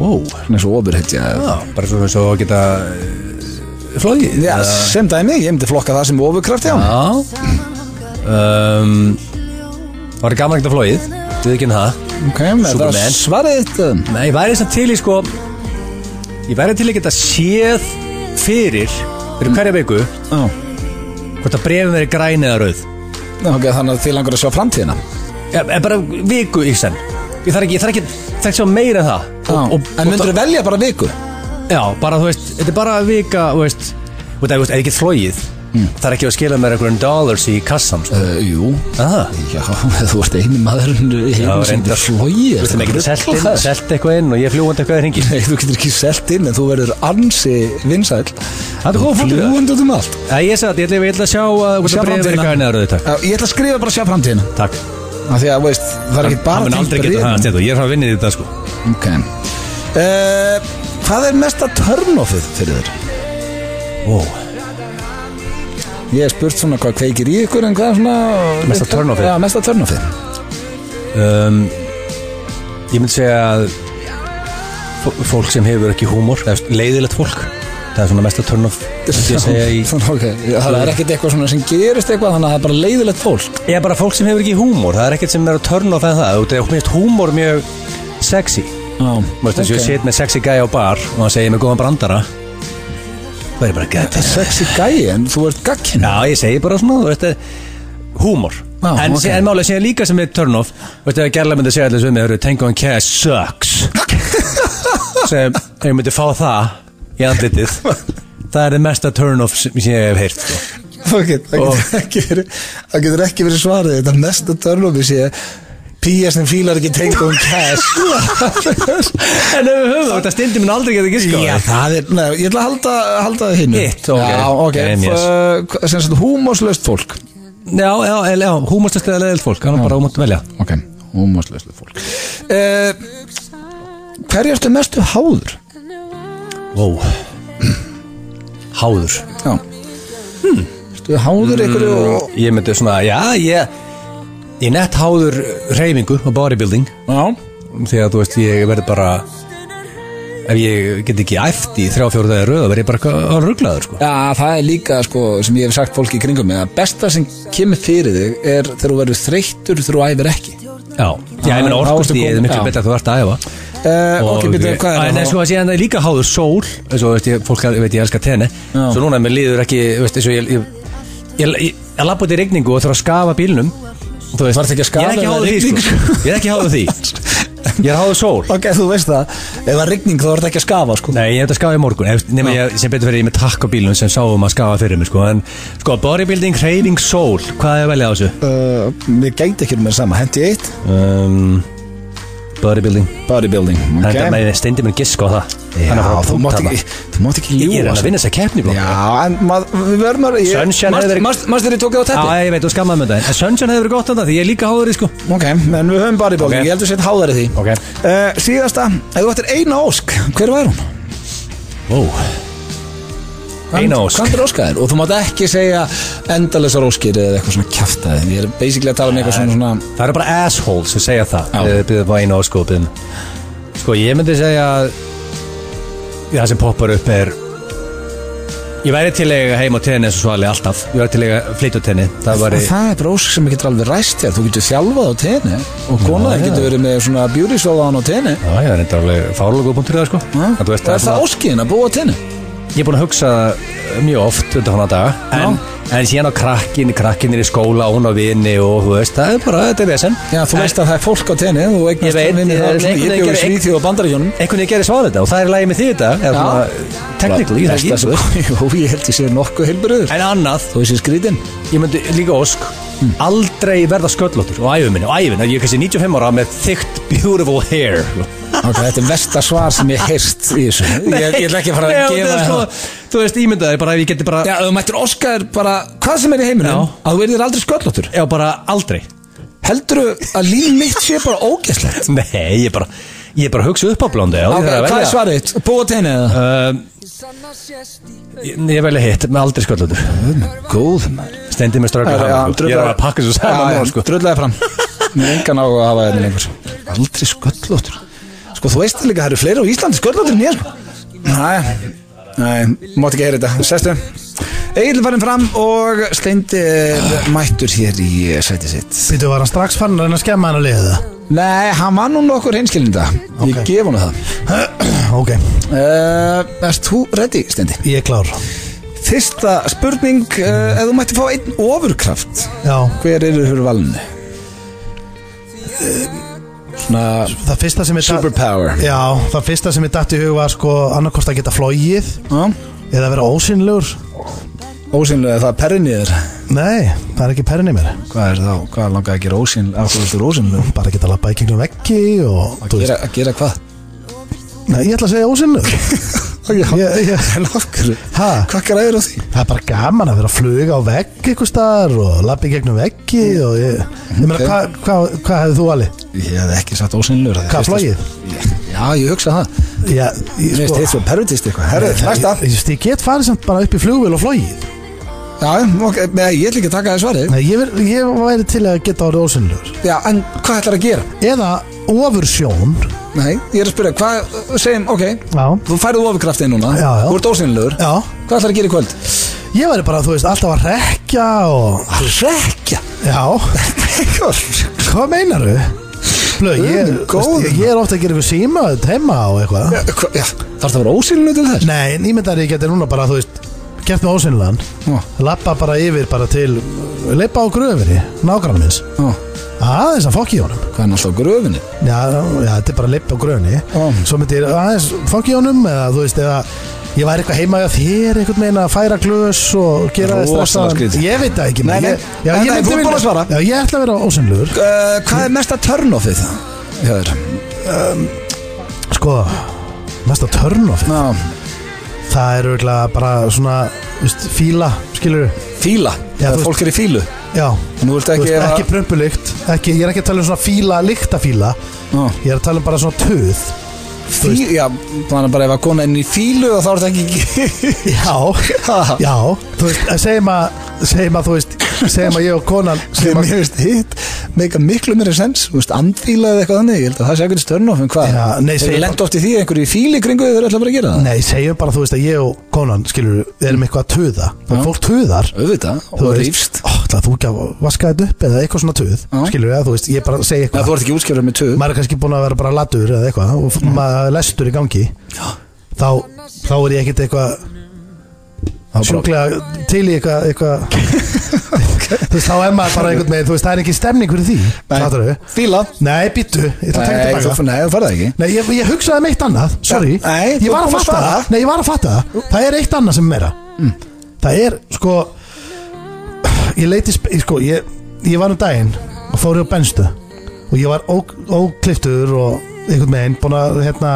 Wow Ah. Hann er svo ofur heit ég að Bara svo eins og að geta eh, Flóið Já, sem dæmi, ég myndi flokka það sem ofurkraft já Já um, Það var gaman ekkert að flóið Þið ekki en það Ok, er það Superman. svarið þitt um, Nei, ég væri samt til í sko Ég væri til í geta séð fyrir Fyrir hverja viku Já Hvort að brefum verið græn eða rauð Ok, þannig að þið langar að sjá framtíðina ja, En bara viku í senn Ég þarf ekki, ég þarf ekki, þarf ekki sjá meira en það og, Ah. En myndur það- þið velja bara viku? Já, bara þú veist, þetta er bara að vika Þú veist, þú veist, ef ég get flóið Mm. Það er ekki að skila mér einhverjum dollars í kassan sko. Uh, jú Aha. Já, þú ert eini maðurinn í heiminum sem reyndar. er flóið Þú veist, það getur selt inn- selt eitthvað inn og ég fljúandi eitthvað í ringi Nei, þú getur ekki selt inn en þú verður ansi vinsæl er góð fólk, það. Fljúgandi út um allt Já, ég sagði, ég ætla, ég ætla að sjá uh, að Sjá Sjá framtíðina. framtíðina Græna rauði, takk Já, Ég ætla að skrifa bara að sjá framtíðina Takk Af því að, veist, það er ekki bara Hann mun aldrei geta það, Stefán, ég er frá að vinna í þetta sko Ok uh, Hvað er mesta törnofið fyrir þér? Ó, Ég hef spurt svona hvað kveikir í ykkur en hvað er svona Mesta turn-offið? Já, mesta törnofið um, Ég myndi segja að fó- Fólk sem hefur ekki húmor eða Leiðilegt fólk Það er svona mest að turn off myndi Ég segja í Það er ekkert eitthvað svona sem gerist eitthvað þannig að það er bara leiðilegt fólk Ég er bara fólk sem hefur ekki húmor Það er ekkert sem er að turn off en það Þú veist, ég finnst húmor mjög sexy Já, Þú veist, þess að ég set með sexy gæja á bar Og hann segir með góðan brandara Það er bara gæta Sexy gæi, en þú ert gagginn Já, ég segi bara svona, þú veist að húmor Já, en, ok. okay. en málega segja líka sem er turn off Þú veist að gerlega myndi segja allir sem við Tango and Cash sucks sem ef ég myndi fá það í andlitið það er það mesta turn off sem ég hef heyrt sko. Það getur ekki verið Það getur ekki verið svarið Þetta mesta törnofið sé Pía sem fílar ekki um tengum cash en ef við höfum þetta stindi minn aldrei geta giska Já, það er Nei, ég ætla að halda, halda það hinn Hitt, ok. Já, ok Damn, yes. yes. Sem sagt, húmoslaust fólk Já, já, el- já húmorstast eða leðilt fólk hann er bara ómönd að velja Ok, húmoslaust fólk uh, Hverju ertu mestu háður? Ó Háður Já Hmm. Ertu háður ykkur og Ég myndi svona, já, ég ég er nett háður reyfingu og bodybuilding Já því að þú veist ég verði bara ef ég get ekki æft í þrjá fjóru dagir röð þá verð ég bara eitthvað rugglaður sko. Já, það er líka sko, sem ég hef sagt fólki í kringum mig að besta sem kemur fyrir þig er þegar þú verður þreyttur þegar þú æfir ekki já, já, ég meina þá ertu orkust ég komin- er miklu já. betra að þú ert að æfa uh, Ok, byrja, hvað en er eins það? og að síðan er líka háður sól eins og veist ég, fólk að- veit ég elska tenni Já. svo núna mér líður ekki, veist, eins og ég ég, ég, ég, ég lappa út í regningu og þarf að skafa bílnum þú veist, Þarftu ekki að skafa ég er ekki eða háður því rigningu? sko. ég er ekki háður því Ég er háðu sól Ok, þú veist það, ef það er rigning þá er þetta ekki að skafa sko. Nei, ég hef þetta skafa í morgun ef- nema ég, sem betur fyrir ég er með takk á bílun sem sáum að skafa fyrir mig sko. en sko, bodybuilding, hreyfing, sól hvað er að velja á þessu? uh, Mér gæti ekki með sama, hendi eitt Um, bodybuilding Ehm, Bodybuilding okay. þannig að maður steindi mér gisk á það Já, Hann er að fara að þú punkta mátt það. ekki, þú mátt ekki Ég er ljúga að sko. vinna þess að keppni blóð. Já, en mað, við verðum að Sunshine hefði verið- Mastur ég tók það á Já, teppi ég veit, þú skammaði með það En Sunshine hefur verið gott þarna því ég er líka háður í sko Ok, en við höfum bodybuilding, Ok. ég heldur sett háðari því Ok. uh, Síðasta, ef þú ættir eina ósk, hver væri hún? Ó Eina ósk Hvað er óskaðir? Og þú mátt ekki segja endalessar óskir eða eitthvað svona kjaftaði Ég er basically að tala um eitthvað svona, svona Það eru bara assholes sem segja það Já. Býðum bara eina ósk og býðum Sko, ég myndi segja að Það sem poppar upp er Ég væri til að eiga heim á tenni eins og svali alltaf Ég væri til að eiga flytja á tenni Það var Og Sko, það er bara ósk sem getur alveg ræst þér Þú getur þjálfað á tenni Og konaðin Já, já. getur verið með svona beauty sóðan á tenni Já, ég var reynda alveg fárlóku punktur í það sko Og Að þú veist, er svona- það óskiðin að búa á tenni? Ég er búin að hugsa það mjög oft undir hana daga en, en síðan á krakkin, krakkin er í skóla og hún á vini og þú veist, það er bara, þetta er vesen Já, þú veist að það er fólk á tenni Þú eignast Ég veit, vinni ég- þar og svona. einhvern Ég veginn bjóð í gerir- Svíþjóð og Bandaríkjónum einhvern veginn gerir svar þetta og það er lægi með því þetta eða Já. svona, teknikli, ég Flesta þekki sem- Jú, ég held ég sé nokkuð heilbröður En annað, Þú veist ég skrítin ég myndi líka ósk aldrei verða sköllóttur og æfum minni, og æfum, ég er kannski 95 ára með þygt, beautiful hair Ok, þetta er versta svar sem ég heyrst í þessu Ég ég ætla ekki að fara Nei, að og gefa það er þér sko, það Þú veist, ímyndaði bara ef ég geti bara Já, ef þú mættir Óskar bara hvað sem er í heiminum Já. að þú verðir aldrei sköllóttur Já, bara aldrei Heldurðu að líf mitt sé bara ógeðslegt? Nei, ég bara, ég bara hugsa upp á blóndi Ok, hvað er svarið þitt? Búa tenni eða? Um, ég, ég velja hitt með aldrei sköldlótur Góð maður Stendi með ströggla saman sko. Ég er að pakka þessu saman núna, sko. Dröðlaði fram Mér er engan á að hafa þetta lengur Aldrei sköllóttur Sko þú veist líka að það eru fleiri á Íslandi sköllóttur en ég sko Næ, næ, mátt ekki heyra þetta Sestu Egil farin fram og Steindi er mættur hér í sæti sitt Býtu var hann strax fann að reyna að skemma hann að liða það Nei, hann var nú nokkur hinskilinda Ég Ok. gef hann það Ok, Uh, Erst þú ready, Steindi? ég er klár Fyrsta spurning, uh, ef þú mætti fá einn ofurkraft, Já, hver eru fyrir valinu? Svona það fyrsta sem ég datt- superpower Já, það fyrsta sem ég datt í hug var sko annarkost að geta flóið Já, eða vera ósynlegur Ósynlega það er perrin í þér Nei, það er ekki perrin í mér Hvað er þá? Hvað langar að gera ósynlega? Af hverju viltu ósynlega? bara geta lappa í gegnum veggi og þú veist, Gera, að gera hvað? nei, ég ætla að segja ósynlegur ég, ég, En af hverju? ha, Hvað græður á því? það er bara gaman að vera að fluga á vegg ykkur staðar og lappa í gegnum veggi og ég, ég meina, Ok. hvað hva, hva, hva hefði þú alveg? Ég hef ekki sagt ósynlegur Hvað, flóið? Já, ég hugsa það Já, ég, Mér finnst þið sko, svo pervitist eitthvað Herðu, næsta ég, ég, ég get farið samt bara upp í flugvél og flóið Já, ok, nei, ég ætla ekki að taka það svarið Nei, ég, ver, ég væri til að geta orðið ósynlegur Já, en hvað ætlar að gera? eða ofursjón Nei, ég er að spyrja, hvað, segjum, ok já, Þú færðu ofurkraftið núna, Já, já. þú ert ósynlegur já Hvað ætlar að gera í kvöld? Ég væri bara, þú veist, alltaf að rekja og... Rekja Já, hvað meinaru? Blöð, ég, Guð minn þú veist, ég, ég er ofta að gera ykkur síma heima og eitthvað Þarf það að vera ósynlegur til þess? Nei, en ímyndar ég geti núna bara, þú veist, gert með ósynlegan Já. Lappa bara yfir bara til, leipa á gröfinni, nágrann minns Ó, Aðeins að fokki í honum hvað er hann alltaf á gröfinni? Já, já, þetta er bara að leipa á gröfinni Já. Svo myndi ég aðeins fokki í honum eða, þú veist, eða Ég væri eitthvað heima hjá þér, einhvern meina að færa glös og gera þess Rosalega stressaðan. skrítið. Ég veit það ekki Nei, nei, maður. Ég- já, en það er ég myndi þú vilja- búin að svara. Já, ég ætla að vera ósynlegur Uh, hvað er mesta turn-offið það? Hjöður Sko, mesta törnof Ná, Það er auðvitað bara svona veist, Fíla, skilur fíla Já, Þegar þú fólk er í fílu Já, Nú viltu þú ekki, veist, ekki prömpulikt ekki, Ég er ekki að tala um svona fíla, líkta fíla Ná, Ég er að tala um bara svona töð fí, Já, þannig bara ef að kona inn í fílu og þá er þetta ekki Já, Ha, já Þú veist, að segjum að segjum að þú veist, segjum að ég og konan Sem segjum að, ég veist hitt Meika miklu meira sens Þú veist, andfíla eða eitthvað þannig Ég held að það sé ekkert störn en hvað Já, nei, Þeir segir- lenda oft í því að einhverju í fíli kringu þau eru alltaf bara að gera það Nei, segjum bara þú veist að ég og konan skilur, við erum eitthvað að töða og fólk töðar Auðvitað, þú og veist, rífst ó, ætlar þú ekki að vaska þetta upp eða eitthvað svona töð Já. skilur við að þú veist, ég bara segi Já, eitthvað þú ert ekki útskjöfrið með töð maður er kannski búin að vera bara latur eða eitthvað og maður er lestur í gangi þá, þá er ég ekkert eitthvað sjúklega til í eitthvað eitthvað þú veist, þá er maður bara einhvern veginn þú veist, það er ekki stemning fyrir því fattarðu? Fíla Nei, býttu, ég ætla að Nei, tekja tilbaka þú- Nei, þú farið það ekki Nei, ég, ég hugsaði um eitt annað, sorry Ja, nei, Ég þú kom að var að Mm. fatta svara. það Nei, ég var að fatta það Það er eitt annað sem er meira Það er, sko Ég leiti, sp- sko, ég, ég var um daginn og fór ég á benstu og ég var ók- ókliftur og einhvern veginn, búin að, hérna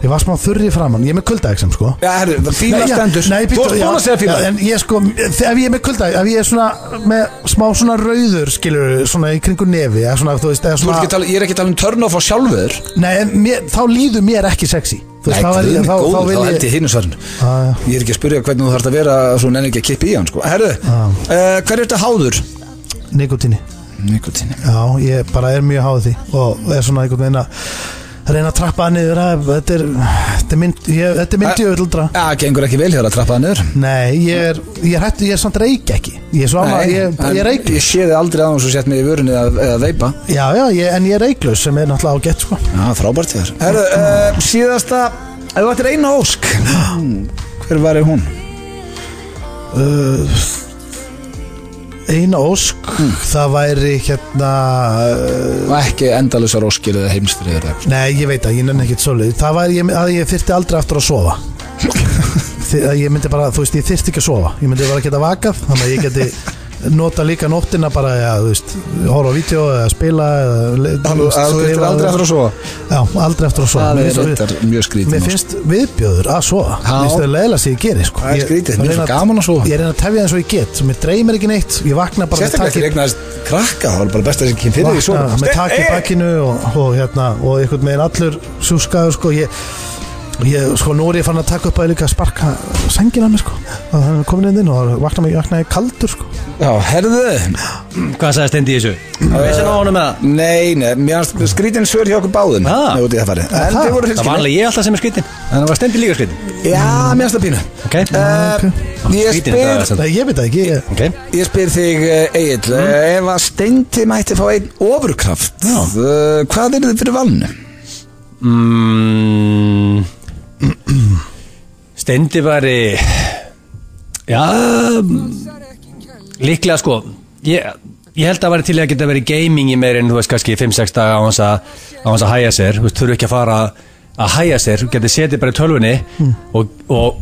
ég var smá þurri framann, ég er með kuldaeksem, sko Já, herru, það Nei, fíla já, stendur nei, Þú býttu, varst já, búin að segja fíla já, En ég sko, ef ég er með kulda Ef ég er svona, með smá svona rauður Skilur, svona í kringu nefi eða svona, þú veist, eða Þú ert svona, ekki að tala, ég er ekki að tala um turn off á sjálfur Nei, en mér, þá líður mér ekki sexy Nei, Þú veist, þá er guð ég, minn þá, góður, þá vil þá held ég Ah, ég hinu svarinu Já, já. Ég er ekki að spyrja hvernig þú þarfst að vera svo nenni ekki að kippa í hann sko Herru, Já. uh, hver er þetta háður? Nikotíni Nikotín Já, ég bara er mjög háð því Og er svona einhvern veginn að reyna að trappa það niður að, Þetta er, þetta er mynd ég, Þetta er mynd ég vil dra Já, gengur ekki vel hjá þér að trappa það niður Nei, ég er, ég er hættu, ég er samt reik ekki Ég er svo annað, ég, en ég er reik Ég sé þið aldrei aðeins og sett mig í vörunni að, eða veipa Já, já, ég, en ég er reiklaus sem er náttúrulega ágætt sko. Já, frábært þér Herru, uh, síðasta, ef þú ættir eina ósk Hver var hún? uh, Eina ósk Hmm. Það væri hérna uh, Og ekki endalusar óskir eða heimstrið eða eitthvað Nei, ég veit að ég nenni ekkert svolítið Það væri ég, að ég þyrfti aldrei aftur að sofa Þi- að Ég myndi bara, þú veist, ég þyrfti ekki að sofa Ég myndi bara geta vakað Þannig að ég geti nota líka nóttina bara, já, þú veist Hóra á vídeo eða spila eða, le- Þú ættir aldrei aftur að sofa Já, aldrei eftir að sofa Það Mér er finnst- reyndar mjög skrítið Mér finnst viðbjöður að sofa Já. Mér finnst það leila sem ég geri sko. Það er Ég- skrítið, mér ég er svo reyna- gaman að sofa. Ég reyna að tefja eins og ég get Mér dreymir ekki neitt, ég vakna bara Sérstaklega ekki regnaðist krakka, það var bara best að þessi kynni fyrir því svona. vakna, Með takk í bakkinu og, og, hérna, og einhvern veginn allur sjúskaður sko, ég, ég, sko, nú er ég fann að taka upp að líka sparka sængina mér sko. og hann er komin inn inn og vakna mig vakna ég kaldur sko. Já, herðu, Hvað sagði Stendi í þessu? Það veist hann á honum með það nei, nei, mér hans skrítin svör hjá okkur báðum Ha? Nei, út í það farið En Ha? þið voru Það var hrylskilni alveg ég alltaf sem er skrittin En það var Stendi líka skrittin Já, mér hans það pínu Ok, Ah, Eh, Ég Skrýtin þetta er spyr, samt. Nei, ég veit það ekki ég, ok ég spyr þig, Egil Ef að Steindi mætti fá einn ofurkraft eh, Hvað er þið fyrir valinu? mm, eh, Stendi væri Já Líklega sko Ég, ég held að væri til í að geta verið gaming í meir en þú veist kannski 5-6 daga á hans að á hans að hæja sér, þú veist, þurfu ekki að fara að hæja sér, þú getur setið bara í tölvunni og, og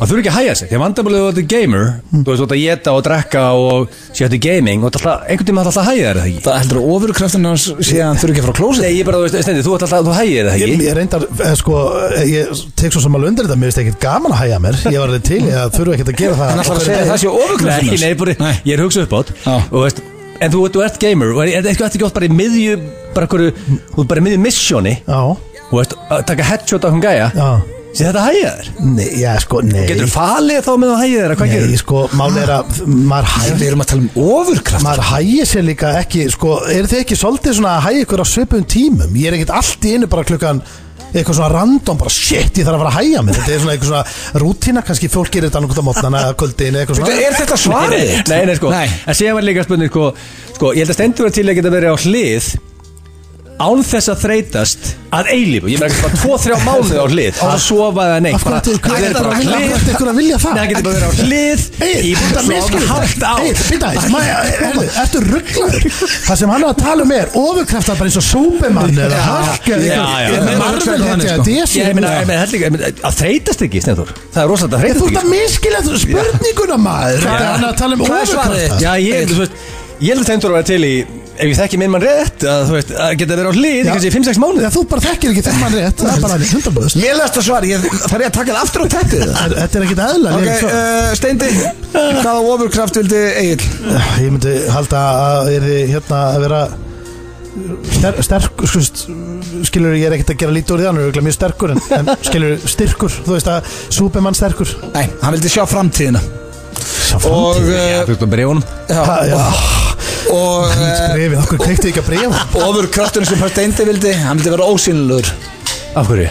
það þurfu ekki að hæja sér, því að vandamálið þú ert gamer þú veist, þú ert að geta og drekka og séttu gaming og þú ert alltaf, einhvern tímann alltaf að hæja þér er það ekki Það heldur að ofurkraftin hans sé að hann þurfi ekki að fara á klósið Nei, ég bara, þú veist, Stendi, þú ert alltaf, þú hægir það ég, ekki ég reyndar, eh, sko, eh, ég tek svo saman undir þetta mér finnst ekkert gaman að hæja mér ég var alveg til, ég þurfa ekkert að gera það Hann ætlar að segja að það sé Nei, ofurkraftin nei, bara, ég er hugsað upp átt Já. og veist, En þú, þú ert gamer og er, er, er ekki oft bara í miðju bara hverju, þú ert bara í miðju missioni Já, og veist, að taka headshot á hún gæja já sem þetta hægja þér Nei, já, sko, nei Getur þú falið þá með þú hægja þér, hvað Nei, gerur? sko, mál er að Ah. maður Við hægir erum að tala um ofurkraft maður hægir sér líka ekki sko, er þið ekki svolítið svona að hægja ykkur á svipum tímum ég er ekkert allt í einu bara klukkan eitthvað svona random, bara shit, ég þarf að fara að hægja mig þetta er svona eitthvað svona rútína kannski fólk gerir þetta annarkvæmt á mótnana eða kvöldin eða eitthvað svona Er þetta svarið? Nei, þitt? nei, nei, sko Nei. En séðan var líka spurning, sko, sko Ég held að stendur að til að geta verið á hlið án þess að þreytast að eilífu, ég meina ekki bara 2-3 mánuði á hlið að sofa eða neitt Af hverju bara- ætti- hann hverju getur bara ætti- á af hverju hlið. ætti ykkur að vilja það? Nei, hann getur bara verið á hlið í Þetta svona miskilur hálft ár þetta Ertu rugglaður? Það sem hann er að tala um er ofurkraftar bara eins og Superman eða Já, Hulk eða já, einhver- já. einhver Ég meina, hugsaði Marvel það þannig, hetja, sko. DC Ég meina, Já. ég meina, þetta er líka- að þreytast ekki, Sneiður Það er rosalega að Ég, þreytast Þú ert að ekki miskilja þú spurninguna maður Þetta er hann að tala um Hvað er svarið? ofurkrafta sko. Já, ég held þú veist Ég held að stendur að vera til í ef ég þekki minn mann rétt að þú veist að geta verið á hlið í kannski 5-6 mánuði Þú bara þekkir ekki þeim mann rétt Það er bara hundarbúðust Ég las það svar, ég, þarf ég að taka það aftur á tettið það? Þetta er ekkit eðla Ok, ég, uh, Steindi, hvaða ofurkraft vildi Egil? ég myndi halda að er þið hérna að vera ster, sterk sko, st- skilur ég er ekkert að gera lítið úr því hann er örugglega mjög sterkur en, en skilur styrkur þú veist að Superman sterkur Nei, hann vildi sjá framtíðina Og, og uh, Þú veist að bregja honum já, Ha, já. og uh, brefið okkur kveiktu ekki að brefa ofurkrafturinn sem hann Steindi vildi, hann vildi vera ósýnilegur Af hverju?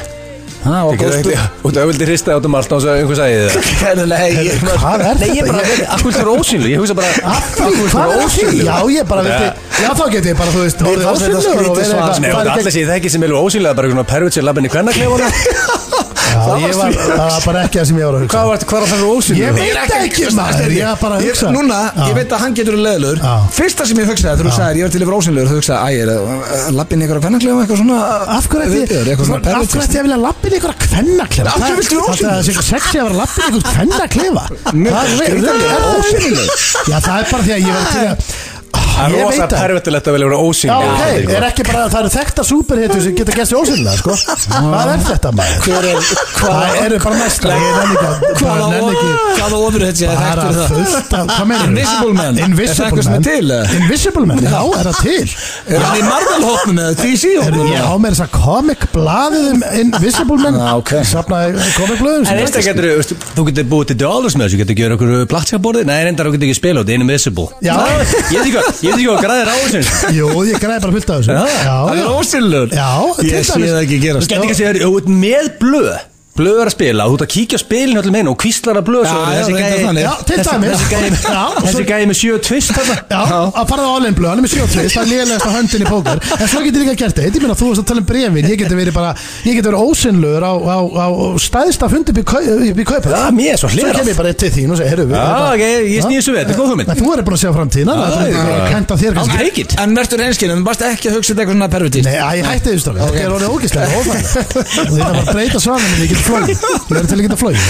Ha, og Ekki góðstu það Og það vildi hrista át um allt og einhver sagði þið það Nei, ég hvað er Nei, ég þetta? bara, akkur þú er ósynlu Ég hugsa bara, akkur þú Hvað er er það? ósynlu Já, ég bara vildi, já þá geti ég bara, þú veist, orðið fannst þetta ósynlegur og skrítið verið svar, eitthvað- Nei, og farið það allir gegn- séð þekki sem eru ósynlega bara einhvern pervert sér labbin í kvennakleifana Já, Það var ég var, svíð. það var bara ekki það sem ég var að hugsa Hvað var þetta, hvað var það fyrir Ég ósynum? veit ekki, maður, ég var bara að Ég- hugsa. Núna, Já. ég veit að hann getur leðilegur Já. Fyrsta sem ég hugsaði, þú hugsaði, ég var til yfir ósynlegur Þú hugsaði, æ, er það lappin ykkur að kvennaklega eitthvað svona Af hverju ætti viðbjöður, af eitthvað svona hverju ætti ég að vilja lappin ykkur að kvenna klefa? Af hverju viltu vera ósýnilegur? Það er sexy að vera lappin ykkur að kvenna klefa Mjög skrýtandi, ósynlig Já, það er bara því að ég var til að Það er Ég rosa veit það pervertilegt að vilja vera Já, ósynum ok, er ekki bara að það eru þekkta superhitur sem geta gæst í ósynlega, sko Hvað er þetta maður? Hver er, Það hvað, eru bara næsta Ég nenni ekki að- bara hvaða, nenni ekki hvaða ofur þetta sé að Bara þekktur það fullt af, hvað meður? Invisible Man. Er það Invisible eitthvað sem er Man til, eða? Invisible Man, já, er það til? Er hann í Marvel-hópnum eða Heyrðu, DC-hópnum? Ég á með þess að comic blaðið um Invisible Man Já, ok. Safnaði comic blaðið En einsta getur, veistu, þú getur búið til dollars með þessu, getur gjörð okkur platskaborði Nei, reyndar þú getur ekki spila út, invisible Já. Nei, Ég veit ekki hvað, ég veit ekki hvað græðir á þessu Jú, ég græði bara fullt af þessu Já, Hann er ósynlegur Já, til Ég sé dæmis. það ekki Þú gerast getur ekki að segja, þú ert með blöð Blöð er að spila, þú ert að kíkja á spilin öllum einu og kvíslar að blöð svo Já, er já, þessi reyndar gæi- þannig. Já, til þessi- dæmis. þessi gæi- Já, og svo- Þessi gæði með sjö tvist þarna Já, að fara á All-in Blue, hann er með 73, það er lélegast á höndin í póker En svo getur líka gert eitt, ég meina þú varst að tala um brefin Ég getur verið bara, ég getur verið ósynlur á, á, á stæðsta fundi upp í kau- upp í kaupa Já, mér er svo Svo hlerað kem ég bara eitt til þín og segi, heyrðu Já, ok, ég snýði þessu við, þetta er góð hugmynd Nei, þú er búin að segja framtíðina, Já, það er já, bara já. að kenta þér I'll kannski take it En verður einskinn, en varst ekki að hugsa þetta eitthvað svona pervertist Nei, að ég hætti því stofið, þetta er orðið ógæslega ófæðið og þetta var að breyta svarinu en ég geti flogið, ég verði til að geta flogið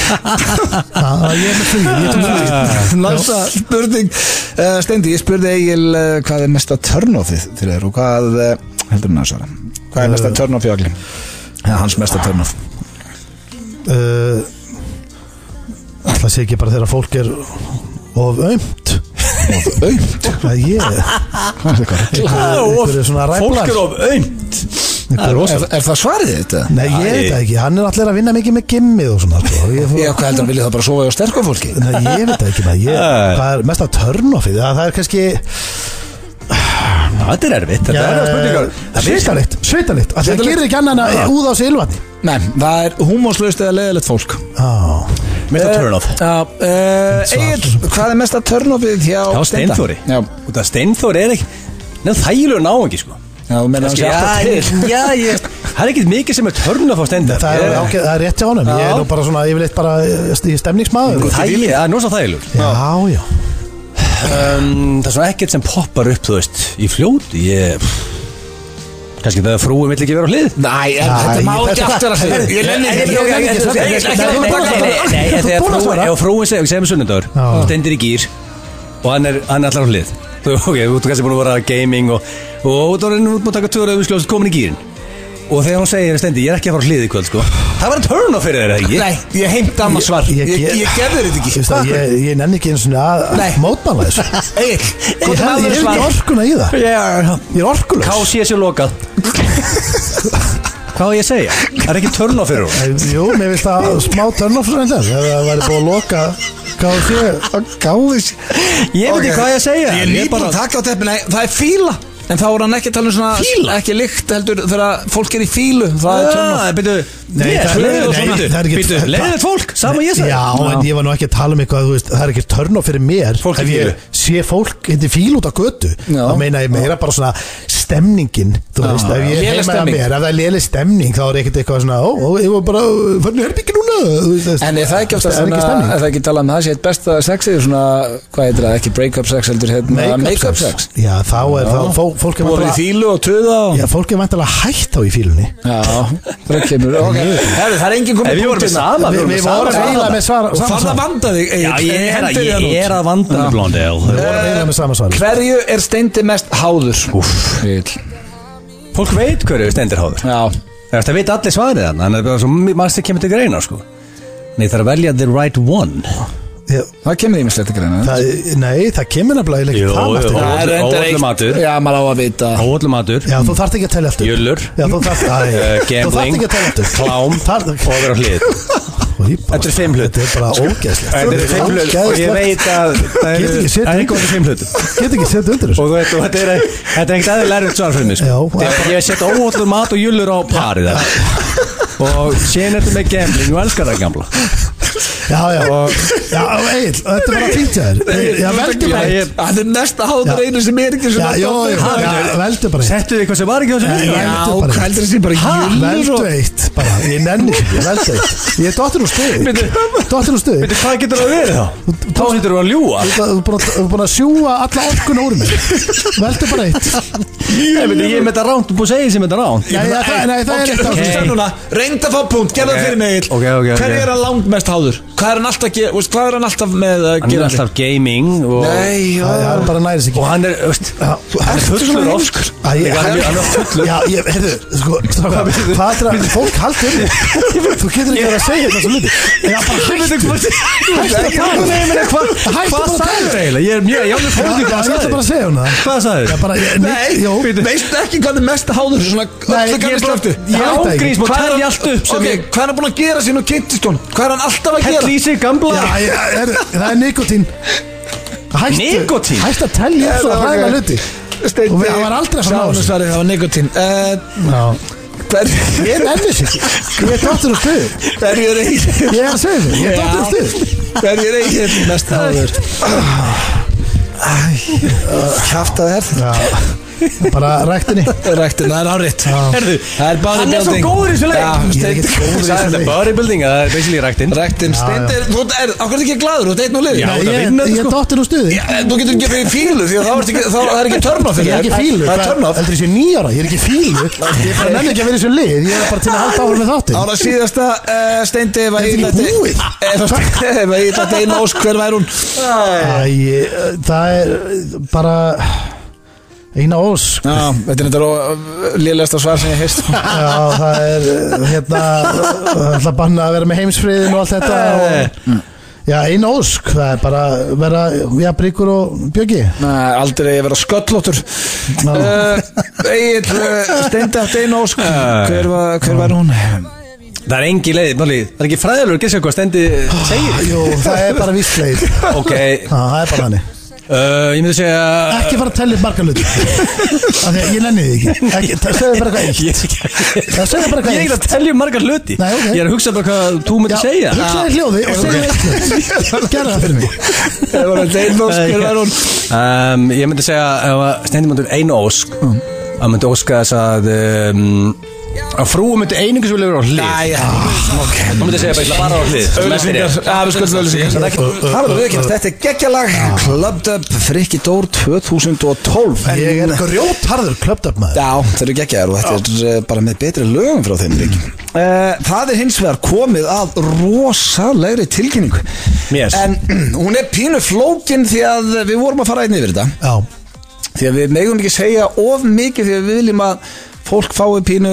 Það það- ég er með flugið, ég tók flugið Ah. Næsta spurning uh, Steindi, ég spurði Egil uh, hvað er mesta törnófið til þér og hvað uh, heldur hann að svara hvað er mesta törnófið allir ja, hans mesta törnóf Uh, Það sé ekki bara þegar fólk er of aumt aumt að ég einhverju svona Fólk ræflar er of aumt einhverju er, rosa er það svarið þetta? Nei, ég veit það ekki, hann er allir að vinna mikið með gimmið og svona sko. ég, Já, hvað heldur hann vilja það bara sofa hjá sterkum fólki? Nei, ég veit það ekki maður, ég, Nei. hvað er mest að törnofið það, það er kannski Þetta er erfitt, þetta er erfitt spurningar Eh, svitalikt, svitalikt af því Það Svitalikt? gerir ekki annan að úða á sig ylvatni Nei, það er húmóslaust eða leðilegt fólk Já, Mér er turn off Já, uh, Egil, hvað er mesta törnófið hjá Já, Steinda? Steinþóri Já, Út af Steinþóri er ekki Nefn þægilegur náungi sko já, þú meina hann sé alltaf Já, til já, ég Það er ekkert mikið sem er törn off á Steinda það er, ágæð, það er rétt hjá honum Ég Já. er nú bara svona, ég vil eitt bara í sko, stemningsmaður Þægilegur, það er nósa þægilegur Já, já um, Það er svona ekkert sem poppar upp, þú veist Í fljóti, ég Kannski það að frúi vill ekki vera á hlið Nei, en þetta ég- má ekki þetta- aftur að segja Ég nenni Nei, ekki ég- ég- ég- ég- ég- ég- Nei, ég- nei, nei, nei, nei, nei, þegar Þú búin að frúin- svara? ef frúin segir, segir með sunnudagur Já. hún stendur í gýr og hann er, hann er allar á hlið þú, ok, þú ert kannski búin að vera að gaming og, og þú er nú búin að taka tvöra öfum komin í gýrin og þegar hún segir stendi, ég er ekki að fara á hlið í kvöld sko. það var að turn off fyrir þér, eða ekki? Nei, ég heimta annars svar Ég, ég, ég gerði þetta ekki Þú veist það, Ég, ég nenni ekki eins og að Nei. mótmála þessu Ég, Egil, ég, komdu með ég alveg er ekki svar orkuna í það Yeah. Ég er orkulegs KCS er lokað hvað á ég að segja? það er ekki turn off fyrir hún Nei, Jú, mér finnst það smá törnofsröndar ef það væri búið að loka KFC Gáðis ég veit ekki hvað ég að segja Ég er nýbúin að taka á teppinu Nei, það er fíla En þá er hann ekki að tala um svona Fíla? Ekki lykt heldur þegar fólk er í fílu Það er törn Ah, byrju, Nei, yes, það- leiðilegt nei, svona. það er ekki- Byrju, leiðilegt fólk, sama ég segi Já, en ég var nú ekki að tala um eitthvað þú veist, það er ekki törnof fyrir mér Fólk í ef fílu. ég sé fólk hindi fíl út á götu Já. þá meina ég meira bara svona stemningin þú veist, ef Léleg ég er heima að stemning. mér ef það er léli stemning þá er ekkert eitthvað svona ó, ó, ég var bara, hvernig er ekki núna Þú veist, En er það ekki oft að er svona ekki Er stemning það ekki talað um það sé eitt besta sexið Svona, hvað heitir það, ekki break-up sex heldur hérna, Make-up sex Já, þá er það, fó- fólk er Búið í vantilega fílu og töða og Já, fólk er vantilega hægt þá í fílunni Já, það kemur Ok, Herðu, það er engin komið Ef við vorum með sama, Við- við vorum með við sama vorum eiginlega með svara- Og sama farð svar. að vanda þig Egill. Já, ég er, að, Hendir þér ég út. er að vanda með Blondel Við vorum eiginlega með sama svar Hverju er steindi mest háður? Úff Já Fólk veit hverju stendir háður Það veit allir svarið hann Þannig að bara svo margst sem kemur til greina sko. Nei, það er að velja the right one Já, Það kemur ímislegt ekki reyna Það, nei, það kemur nefnilega Jú, jú. ekki það Martin. er reyndar eitt- matur. Já, maður á að vita Óallum aður Já, þú þarft ekki að telja allt upp. Jullur. Já, þú þarft að Uh, Þú þarft gambling, ekki að telja allt upp. klám Þarft- og vera á hlið Og ég bara- Þetta er fimm hlut. Þetta er bara ógæðslegt Þetta er fimm hlut og ég veit að það Get eru- ekki setið það er eitthvað fimm hlut Get ekki setið og undir þessu þú veit, og þetta er þetta er ekkert aðeins lærið svar fyrir mig sko. Já. Þetta er- Ég setja óallum mat og jullur á parið þar. og sen er þetta með gambling og elskar það gamla Já, já, Og- já, Egil, þetta er bara fínt hjá þér Já, veldu bara eitt Þetta er næsta hátur einu sem er ekki Já, svona jó, jó, já, veldu bara eitt Settu þið eitthvað sem var ekki á þessu Nei, vídeo? já. Já, veldu bara eitt. hvað heldur þessi bara Veldu júlur og eitt, bara, ég nenni því, ég veldu eitt Ég er dottir úr stuði Dottir úr stuði Veitu, hvað getur það verið þá? Þá hittur þú að ljúa Þú ert búin að- þú ert búin að sjúga alla orkun úr mig Veldu bara eitt Nei, veitu, ég er með þetta ránt, þú búið að segja sem þetta ránt Nei, það- nei, það er eitt Ok, ákveð hlusta núna, reynda að fá punkt, gerða Ok, okay. fyrir mig Egill. ok, ok, Hver ok. er hann langt mest háður? Hvað er hann alltaf, ge- veist, hvað er hann alltaf með að Hann er gera? alltaf gaming og, Nei, já Það er bara næris ekki og hann er, veist, þú hann er ert svona fullur heimskur. ofskur Æ, ég- Hann er- hann er fullur Já, ég, heyrðu, sko, strákar, hvað er það, fólk haldi um þig Þú getur ekki verið að segja þetta svo lítið Já, bara hættu, hættu að tala Nei, meni, hvað, hættu Hvað bara að sagður tala eiginlega? Ég er mjög, ég er alveg Já, fórnir já, hvað ég ætla bara sagður að segja hún það Hvað sagður? Já, bara, ég, Nei, nei, jú veistu ekki hvað er mest háður Svona Nei, öllu ég gamla bara- slöftu ég veit það ekki. Ágrís, má Hvað er tæli hann- allt upp sem Ok, ég hvað er hann búin að gera sín og kynntist hún? Hvað er hann alltaf að gera? Hell í sig Já, gamla ég, heyrðu, það er nikotín Hættu, Nikótín? hættu að telja upp svona Já, hræðilega ok. hluti Steindi- Og við- hann var aldrei að svara Sjáum þessu. svarið, það var nikotín Eh, Já, hver- ég er ennis ekki Ég er dóttur úr stuðu Hverju er eigin Ég er að segja þig, ég er dóttur úr stuðu Hverju er eigin mest háður? Kjaftaði herð Já, bara ræktinni Ræktin, það er áriðt Herðu, Það er hann er svo bodybuilding. góður í þessu leik Já, Ég er ekkert góður í þessu Sagði þetta, leik. Bodybuilding, það er basically ræktinn Ræktin, Steindi, þú er, á hvernig ekki gladur, þú ert einn og liður Já, Ég þetta ég vinna þetta, er sko. dóttur úr stuðu En Þú getur ekki verið í fílu því að þá er ekki, þá, það er ekki törn á Ég fyrir er ekki þér. fílu, Það er törn á heldur þessi nýjára, ég er ekki fílu Ég bara nenni ekki að vera í þessu lið, ég er bara til að halda áfram með þáttin Ára síðasta uh, steindi var Er þetta illa ekki til- búið? Eh, Steindi var illa til einn ósk, hver væri hún? Æ, ég- það er bara eina ósk Já, þetta er þetta lélægasta svar sem ég heist Já, það er hérna, það ætla að banna að vera með heimsfriðin og allt þetta og, Já, eina ósk, það er bara vera, já, Bríkur og Bjöggi Nei, aldrei að vera sköllóttur uh, Egil, uh, steindi átt einn ósk Hver, var, hver væri hún? Það er engi leið, Máli, það er ekki fræðilegur að gessa hvað stendi segir Jú, það er bara vissleir Ok, Það er bara þannig uh, ég myndi segja Ekki fara að tella upp marga hluti Af því að ég nenni þið ekki, ekki Það segðu bara hvað eitt Ég er Það segðu bara hvað ekki eitt að telja um margar hluti Nei, ok. Ég er að hugsa bara hvað þú myndi segja Ah. Hugsaði hljóði og segðu eitt hlut Gerða það fyrir mig Hver var einn ósk, hver væri hún? um, Ég myndi segja ef að Stendi myndi einu ósk Mm. að myndi óska þess að um, að frúi myndi einingu sem vilja vera á hlið Ah, Æ, já, ok Hún myndi segja bara ég ætla bara á hlið Öllusingar, að við skuldum öllusingar Það er viðkynast, þetta er geggjalag Clubbed Up, Frikki Dór 2012 En- eh, Ég er grjótharður klöptöp maður Já, þeir eru geggjaðar og þetta er eh, bara með betri lögum frá þeim lík Það er hins vegar komið að rosalegri tilkynningu Yes. En hún er pínu flókin því að við vorum að fara einn yfir þetta Já, Því að við megum ekki segja of mikið því að við viljum að fólk fái pínu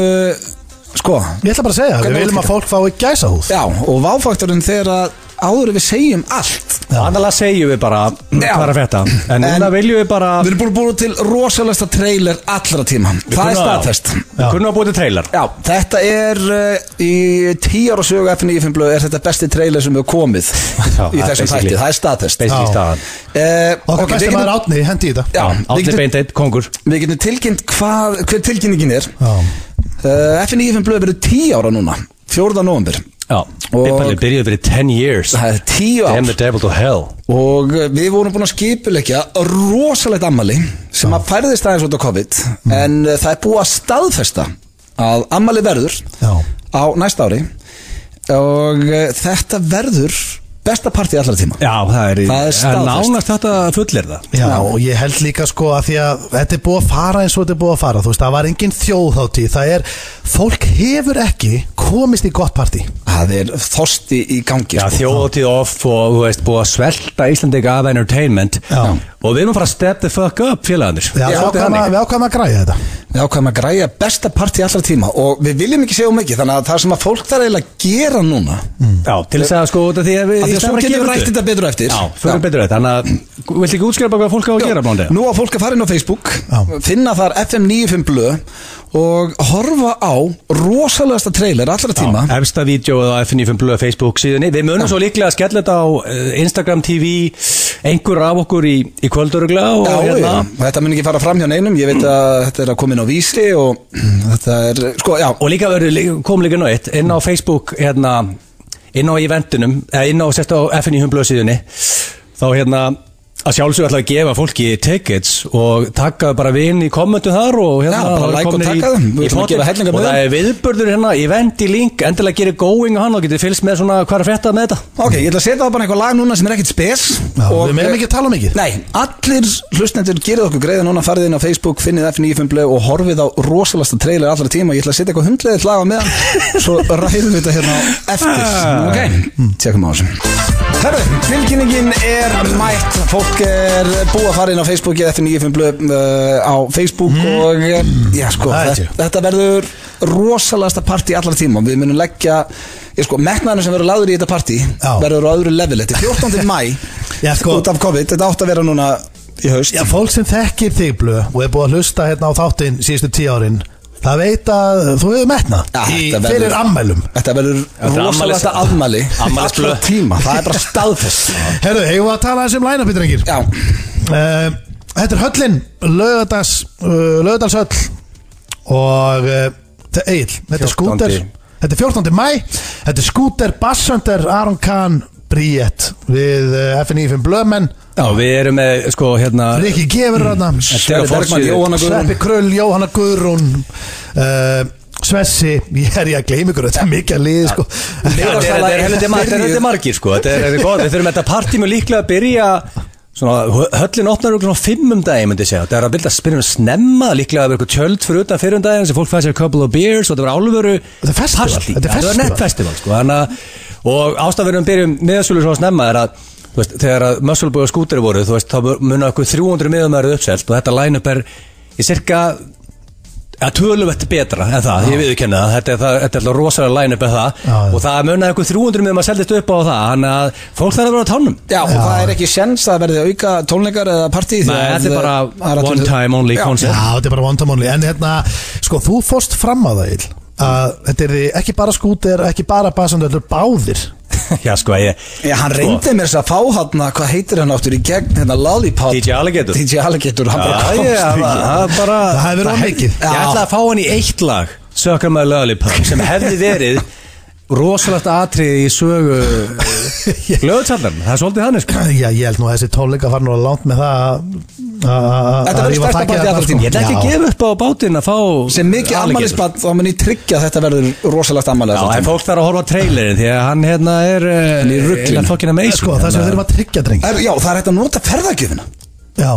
Sko, ég ætla bara að segja, við Hvernig viljum að fólk fái gæsa já, og váfaktorinn þegar að áður en við segjum allt Annarlega segjum við bara Já. hvað er að fetta En En- núna viljum við bara Við erum búin að búin til rosalegsta trailer allra tíma Það er staðfest Við kunum að búið til trailer Já, þetta er uh, í tíu ára sögu F95 blöð er þetta besti trailer sem hefur komið Já, í þessum basically. þætti, það er staðfest uh, Basically Já. staðan Okkar við besti maður getum, átni, hendi í þetta já, við, Átni getum, beint eitt, kongur við getum tilkynnt hvað, hver tilkynningin er Eh, uh, Já. F95 blöð verður tíu ára núna 4. november Já, Bippalið byrjuði fyrir 10 years Það er tíu Damn the ár devil to hell og uh, við vorum búin að skipulegja rosalegt ammali sem að færðist aðeins út á COVID Mm. en uh, það er búið að staðfesta að ammali verður Já. á næsta ári og uh, þetta verður besta partí allra tíma Já, það er, í- Það er staðfest. Nánast þetta fullir það Já, og ég held líka sko að því að þetta er búið að fara eins og þetta er búið að fara þú veist, það var engin þjóðhátíð, það er fólk hefur ekki komist í gott partí það er þorsti í gangi Já, sko. þjóðtíð off og þú veist búið að svelta Íslandika af entertainment Já. og við erum að fara að step the fuck up félagandir Já, við ákvæm að, við ákvæm að græja þetta við ákvæðum að græja besta partí allra tíma og við viljum ekki segja um ekki þannig að það sem að fólk þarf eiginlega að gera núna Já, til þess að sko út af því að við að því að svo getum við rætt þetta betur á eftir Já, fyrir betur þetta, þannig að viltu ekki útskjöra bara hvað fólk á að gera blóndi? Nú að fólk að fara inn á Facebook Já. finna þar FM 95 blö og horfa á rosalegasta trailer allra tíma Efsta vídjóið á FNF Blöð Facebook síðunni Við munum svo líklega að skella þetta á eh, Instagram TV einhver af okkur í, í kvöldurugla og hérna. Já, já, og þetta mun ekki fara fram hjá neinum ég veit að þetta er að koma inn á vísi og þetta er, sko, já, og líka verður, kom líka nú eitt inn á Facebook hérna inn á eventunum, eða inn á, sérst á FNI Humblöðu síðunni þá hérna að sjálfsögur ætla að gefa fólki tickets og taka bara vin í kommentu þar og hérna Já, bara þá eru like og komnir í- taka þeim. Við í ætlum að pottet. gera hellinga og með það þeim. er viðbörður hérna, event í link endilega gerir going á hann og getur fylgst með svona hvað er að frétta með þetta Ok, ég ætla að setja það bara eitthvað lag núna sem er ekkert spes Já, við meðum ekki að tala mikið. Nei, allir hlustendur gerið okkur greiða núna farið inn á Facebook, finnið F95 blöð og horfið á rosalasta trailer allra tíma Ég ætla að setja eitthvað hundleðið laga með hann Svo ræðum við þetta hérna á eftir Ah. Ok, Mm. tjekkum á þessu Herru, tilkynningin er mætt Fólk er búið að fara inn á Facebook F95 blöð uh, á Facebook og eh, já sko, Mm. Það þetta, er ekki. þetta verður rosalasta partí allra tíma Við munum leggja, ég sko, metnaðinu sem verður lagður í þetta partí Já. verður á öðru level Þetta er 14. mæ Já, sko. út af COVID, þetta átt að vera núna í haust Já, fólk sem þekkir þig blöð og er búið að hlusta hérna á þáttinn síðustu tíu árin það veit að þú hefur metna Ja, í, þetta verður- fyrir ammælum Þetta verður Þetta er rosalasta afmæli afmælis- afmælisblöð. Allra tíma, það er bara staðfest Herru, hefur við að tala um þessum lænabitur engir? Já, Uh, þetta er höllin Lögadags, uh, Lögadalshöll og uh, þetta er Egil, þetta 14. er skúter þetta er 14. mæ, þetta er skúter Bassöndir, Aron Kahn, Bríett við uh, FNI 5 Blöðmenn Já, við erum með, sko, hérna Rikki Gefur hérna Sverri Bergmann, Jóhanna Guðrún Sveppi Krull, Jóhanna Guðrún uh, Svessi ég er ég að gleyma ykkur, þetta er mikið að liði sko. Þetta er- þetta er helviti mar- þetta er helviti margir, sko Þetta er- þetta er gott, við þurfum þetta partí mjög líklega að byrja Svona, höllin opnar okkur svona fimm um daginn, myndi ég segja. Það er að byrja að spyrja um snemma, líklega að vera eitthvað tjöld fyrir utan fyrir um daginn sem fólk fæði sér a couple of beers og þetta var álveru Þetta er festival, partí. þetta er Já, festival. nett festival, sko. Þannig að, og ástafinum byrjum miðasölu um svona snemma er að, þú veist, þegar að Mössulbúi og skúteri voru, þú veist, þá munna okkur 300 miðum eru uppselt og þetta line-up er í cirka að töluvert betra en það, ég viðurkenna það þetta er, það, þetta er alltaf rosalega line-up en það Já, já. og það munnaði eitthvað 300 miðum að seldist upp á það þannig að fólk þarf að vera á tánum Já, og það er ekki sjens að verði auka tónleikar eða partí því Nei, að- þetta er það bara er one allir- time only Já. Já, concept þetta er bara one time only En hérna, sko, þú fórst fram að það Egil að þetta er ekki bara skúter ekki bara basandur, þetta er báðir Já, sko, ég Já, hann sko, reyndi mér þess að fá hann hvað heitir hann áttur í gegn, hérna Lollipop DJ Alligator. DJ Alligator, hann bara Já, komst ég- ekki. það- það er bara Það hefur verið of mikið. Ég Já. ætlaði að fá hann í eitt lag Sökkar maður löðalipöng sem hefði verið rosalegt atrið í sögu löðutallarn Það er svolítið hann, sko Já, ég held nú að þessi tónleika var nú að langt með það að- að- að- Þetta að verður rífa stærsta þakið partí þarna, allra sko. tíma. Ég ætla ekki að Já. gefa upp á bátinn að fá sem mikið Alligator. afmælisbatt þá mun ég tryggja að þetta verður rosalegt afmæli Já, en fólk þarf að horfa á trailerin því að hann hérna er hérna er Hann í ruglinu. fokkin að meisa Sko, það sem við þurfum að tryggja, dreng Er, já, það er hægt að nota ferðagjöfina Já,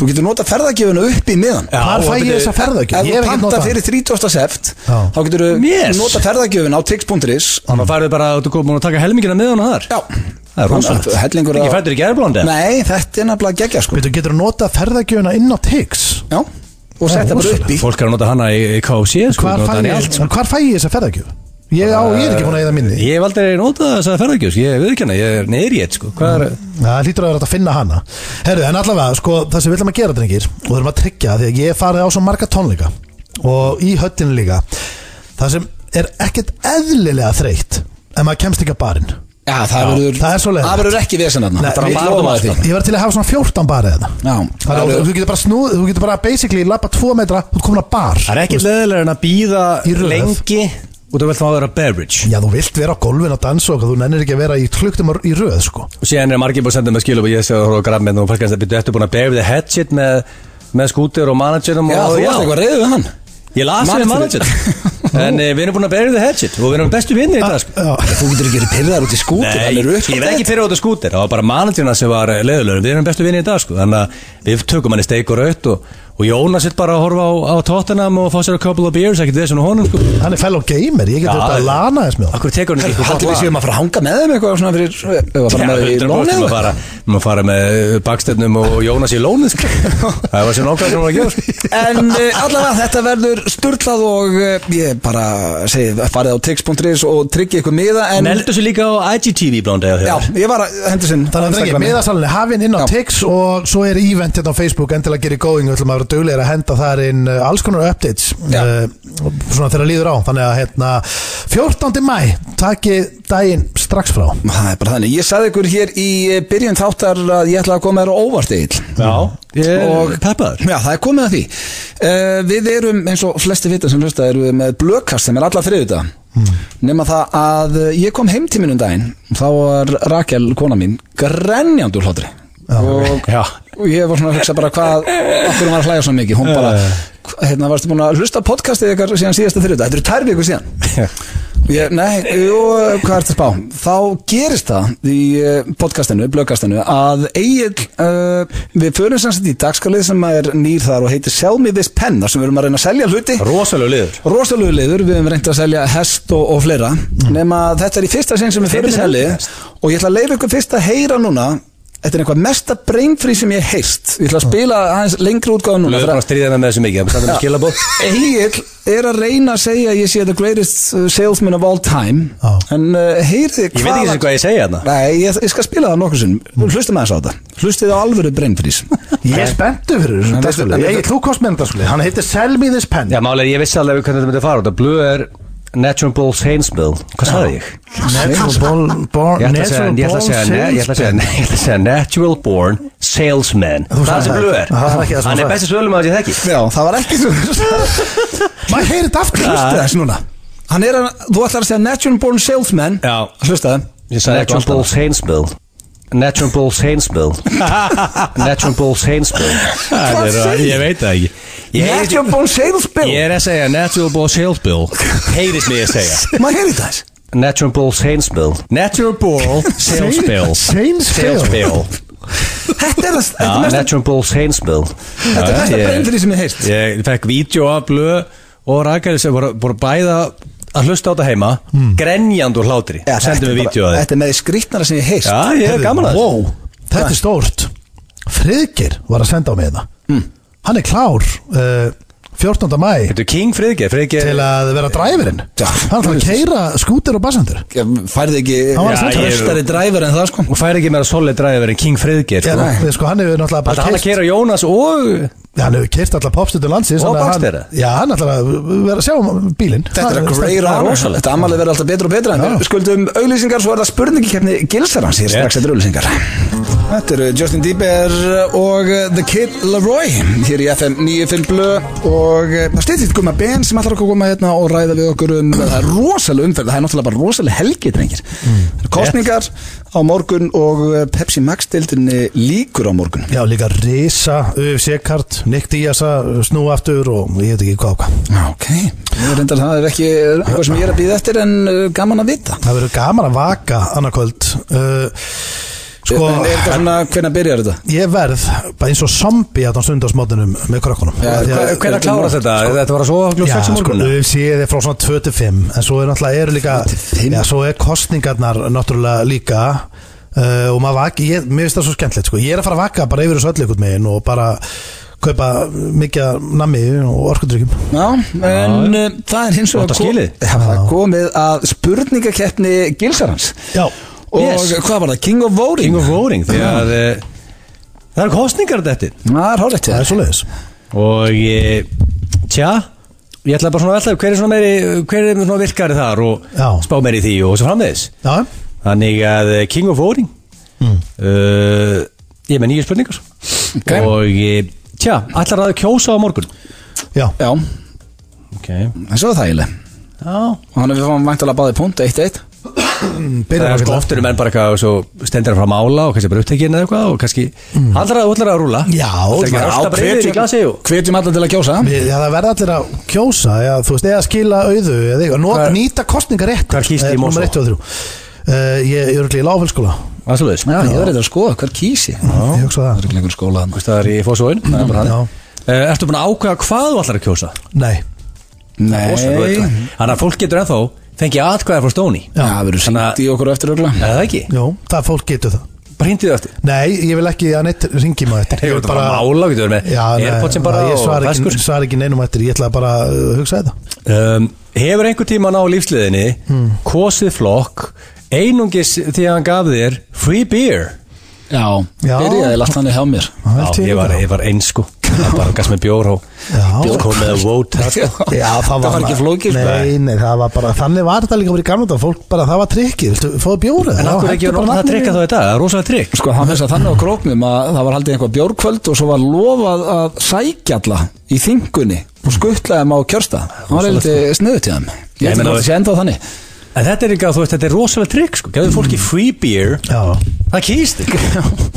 Þú getur nota ferðagjöfina upp í miðan Já, hvar fæ og ég byrju, þessa Ef ferðagjöf? Ég þú hef ekki panta notað fyrir 30. seft Já. þá getur þú Yes. nota ferðagjöfina á tix.is Þannig að færðu bara að þú komur að taka helmingina með hana þar Já Það er rosalegt Þannig að hellingur Ekki á- fættur í gerblóndi Nei, þetta er nefnilega geggja sko Veitu, getur þú notað ferðagjöfuna inn á Tix? Já Og Það er setja bara upp í Fólk er að nota hana í, í KFC sko, Hvar nota fæ hana í ég, allt, sko. hvar fæ ég þessa ferðagjöf? Ég, á, ég er ekki búin að eða minni Ég hef aldrei notað þess að ferðargjöfs Ég veit ekki hana, ég er neyri eitt sko. Hvað er Það hlýtur að vera hægt að finna hana Herru, en allavega, sko, það sem við ætlum að gera drengir og við erum að tryggja því að ég hef farið á svo marga tónleika og í höllinu líka það sem er ekkert eðlilega þreytt ef maður kemst ekki að barinn Já, það verður það er svo leiðilegt. Það verður ekki vesen þarna Nei, Það er við- að lofa því Ég var til að hafa svona 14 barið þetta Já, það Þannig að eru- þú getur bara snúð, þú getur bara basically lappa 2 metra, þú ert komin að bar Það er ekki leðilega en að býða Í röð. lengi Og þú vilt þá að vera beverage Já, þú vilt vera á golfin að dansa og þú nennir ekki að vera í kluktum í röð, sko Og síðan er margir búin að senda með skilum Og ég sé að horfa á graf með Og fólk er að byrja eftir búin að bear with the head shit með, með skútir og managerum Já, og, þú varst eitthvað reyðu við hann Ég las við Mann fyrir- manager En eh, við erum búin að bear with the head shit Og við erum bestu vinni í dag sko. Já, Þú getur ekki verið pyrraðar út í skútur Nei, hann ég er verð upp á ekki fyrir út af skútir Það var bara managerna sem var leðulegur Við erum bestu vinni í dag sko Þannig að við tökum hann í steik og raut Og, og Jónas sitt bara að horfa á, á Tottenham Og fá sér a couple of beers Ekkert þessum og honum sko hann er fellow gamer, ég get Já, þetta að já. lana þess með honum. Akkur tekur hann ekki eitthvað Haldur við gott séum lag? að fara að hanga með þeim eitthvað svona fyrir Ef að fara með í lónið Já, 100% Við eða eitthvað? fara, við erum að fara með bakstefnum og Jónas í lónið sko. Það var sér nokkað sem var að gera sko. En eh, allavega þetta verður sturglað og eh, ég bara segi farið á tix.is og tryggja ykkur miða en Neldu sér líka á IGTV blóndið já, ég var að hendur sinn Þannig að drengir, miðasalinn er hafinn inn á Já. Tix og svo er event hérna á Facebook endilega gerir going, við ætlum að vera duglegir að henda þar inn uh, alls konar updates Já. uh, svona þegar líður á, þannig að hérna 14. mæ, taki daginn strax frá. Það er bara þannig, ég sagði ykkur hér í eh, byrjun þáttar að ég ætla að koma þér á óvart eil Já, ég Og- er peppaður Já, það er komið að því Eh, Hmm. uh, Við erum, eins og flesti vita sem hlusta, erum við með blökast sem er alla þriðuta nema það að eh, ég kom heim til minn um daginn þá var Rakel, kona mín, grenjandi úr hlátri og, Já. og ég var svona að hugsa bara hvað okkur hún var að hlæja svona mikið hún bara, Já, já. hva- hérna varstu búin að hlusta á podcastið ykkar síðan síðasta þriðdag, þetta eru tær viku síðan og ég, nei, jú, hvað ertu að spá þá gerist það í eh, podcastinu, blöggastinu að Egil, uh, við förum sem sagt í dagskalið sem er nýr þar og heitir Sell Me This Pen, þar sem við erum að reyna að selja hluti Rosalega liður rosalegu liður, við hefum reynt að selja hest og, og fleira, nema að þetta er í fyrsta sinn sem við fyrir Heyrðu selji þér og ég ætla að leifa ykkur fyrst að heyra núna þetta er einhvað mesta brainfree sem ég hef heyrst ég ætla að spila aðeins lengri útgáðu núna Löður bara að stríða með þessu mikið Það er samt að skila bóð Egil er að reyna að segja að ég sé the greatest uh, salesman of all time Já. en uh, heyrði Ég veit ekki sem hvað ég segja þarna Nei, ég, ég skal spila það nokkur sinn Hlustum aðeins á þetta Hlustið á alvöru brainfreeze Ég er spenntu fyrir En þessu það er dagskrárlið. svolítið. Ég- Þú komst með þetta svolítið Hann heitir Sell Me This Pen Já, málega ég vissi alveg hvernig þetta myndi að fara út að Blue er Natural Bull Sainsmill Hvað sagði ég? Natural Born- Born Ég ætla að segja, Natural ég ætla að segja, Born ég ætla að segja, ég Salesman. ætla að segja Natural Born Salesman Þú Það er sagði sem það. Blue er Það var ekki það Hann sem er þú sagði. besti svölum að ég þekki Já, það var ekki svo Maður heyrði þetta aftur Hlusta þess núna Hann er að, þú ætlar að segja natural born salesman Já. Hlusta það Ég sagði Natural Bull Sainsmill Natural Bull Sainsmill Natural Bull Sainsmill Hvað segir? Ég veit það ekki Ég heyri- Natural born salesman Ég er að segja Natural Bull Sainsmill Heyrist mér að segja Maður heyrði það Natural Bull Sainsmill Natural Bull Sainsmill Sainsmill Sainsmill Þetta er það þetta er Já, mesta- Natural Bull Sainsmill Þetta er mesta brainfreeze sem ég heyrst Ég fekk vídeo af Blöð og Rækari sem voru, voru bæða að hlusta á þetta heima Hmm. grenjandi úr hlátri Já, þetta Sendum er við bara- vídeo að þið Þetta er með skrýtnara sem ég heyrst Já, ég er gaman að þessu. Wow, þetta er stórt Friðgir var að senda á mig það Mm. Hann er klár uh, 14. mæ Þetta er King Friðgeir Friðgeir til að vera dræfirinn Já. Hann ætlaði að keira skútir og bassendur Ég Færði ekki Hann var að senda mér. Traustari dræfur en það sko Hún fær ekki meira solid driver en King Friðgeir Já, sko. við sko, hann hefur náttúrulega Alltaf bara hann að keirt kera Jónas og Já, hann hefur keirt alltaf popstundur landsins Og þannig að hann- bakstæra. Já, hann ætlar að vera að sjá um bílinn Þetta er Hann- greir það er honor. rosalegt. Þetta amalið verður alltaf betra og betra en Já. við skuldum auðlýsingar svo er það spurningikeppni gilsarans hér strax Rétt. eftir auðlýsingar Þetta eru Justin Bieber og uh, The Kid Laroi hér í FM 95 Blu og uh, það stýttist Guma Ben sem ætlar okkur að koma hérna og ræða við okkur um það er rosalega umferð, það er náttúrulega bara rosalega helgi drengir. Það eru Kostningar á morgun og uh, Pepsi Max deildinni líkur á morgun Já, líka Risa, UFC-kart, Nick Diaz að snúa aftur og ég veit ekki hvað og hvað Ok, Ég reyndar, það er ekki eitthvað sem ég er að býða eftir en uh, gaman að vita Það verður gaman að vaka annarkvöld uh, Sko, En er þetta svona, hvernig byrjar þetta? ég verð bara eins og zombie að það stund á smótunum með krökkunum Já, sko. Af því að- hve- hve- Hvernig klárast þetta? Þetta var að sofa klukk Já, 6 sko, morgun UFC er frá svona 25 en svo er náttúrulega eru líka 25? Já, svo er kostningarnar náttúrulega líka uh, og maður vaki, ég, mér finnst það svo skemmtilegt sko. ég er að fara að vaka bara yfir þessu öll ykkur megin og bara kaupa mikið af nammi og orkudrykkjum Já, en uh, það er hins vegar Þetta skilið. Já, það er komið að spurningakeppni Gilsarans Já, Og Yes. hvað var það? King of Voting? King of Voting Því að eh, það er kostningar þetta Það er hálfrið til það er þess svo Og eh, tja Ég ætla bara svona að velta upp hver er svona meiri hver er svona virkari þar og Já. spá meiri í því og svo framvegis Já, Þannig að eh, King of Voting Mm. uh, Ég er með nýju spurningar Ok. Og eh, tja, ætlar það að kjósa á morgun já Já, Ok en svo er það eiginlega Já Og hann er við fáum væntalega báði punkt, 1-1 Það Byrjar er sko ágætlega. oftur um enn bara eitthvað og svo stendur hann frá mála og kannski bara upptekinn eða eitthvað og kannski mm. allra útlar að rúla Já, Það er ekki já, alltaf breyðir í glasi og hérna. Hvetjum alla til að kjósa Við- Já, það verða allir að kjósa já, þú veist, eða skila auðu eða eitthvað, not, Hvar- nýta Eh, kostningar rétt Hvar kýstu í Mosó? Eh, Ég er örugglega í láfélskóla aðsvöldis Já, ég verður að skoða hver kýsi Það Ég hugsa það er ekki lengur skóla þarna. Það er í fósóin Það er bara Já. hann Eh, Ertu búin að ákveða hvað þú allar að kjósa? Nei, Nei Rosalega. Þannig að fólk getur ennþá fengið atkvæða frá stóni Já, það verður Þannig sýnt í okkur á eftir ögla Eða það ekki? jú, það fólk getur það Bara hindið eftir Nei, ég vil ekki að neitt ringi maður eftir Ég Ég veit vil bara að mála, getur verið með Já, nei, Airpods sem bara nei, ég og svar ekki, feskur. svar ekki neinum eftir Ég ætla bara að uh, hugsa þetta um, Hefur einhver tíma á lífsliðinni Hmm. kosið flokk einungis því að hann gaf þér free beer Já, Já. byrjaði lagt þannig hjá mér Það Já, held ég var, líka. ég var eins sko Það bara gafst með bjór og Já. bjór kom með að vót sko. Já, Já, það var, ekki flókið sko. Nei, nei, það var bara Þannig var þetta líka bara í gamla þetta Fólk bara, það var trikkið Viltu fóðu bjórið? En okkur ekki að nota það trikka þá í dag, það er rosalega trikk Sko það fyrst að þannig á króknum að það var haldið einhvað bjórkvöld og svo var lofað að sækja alla í þingunni og skuttlaði þeim á kjörsta. Það var eitthvað sniðu til þeim. Ég Ég held meina að það að- sé enda á þannig. En þetta er líka, þú veist, þetta er rosalega trikk sko. Gæðu fólki free beer Já, Það kýst ekki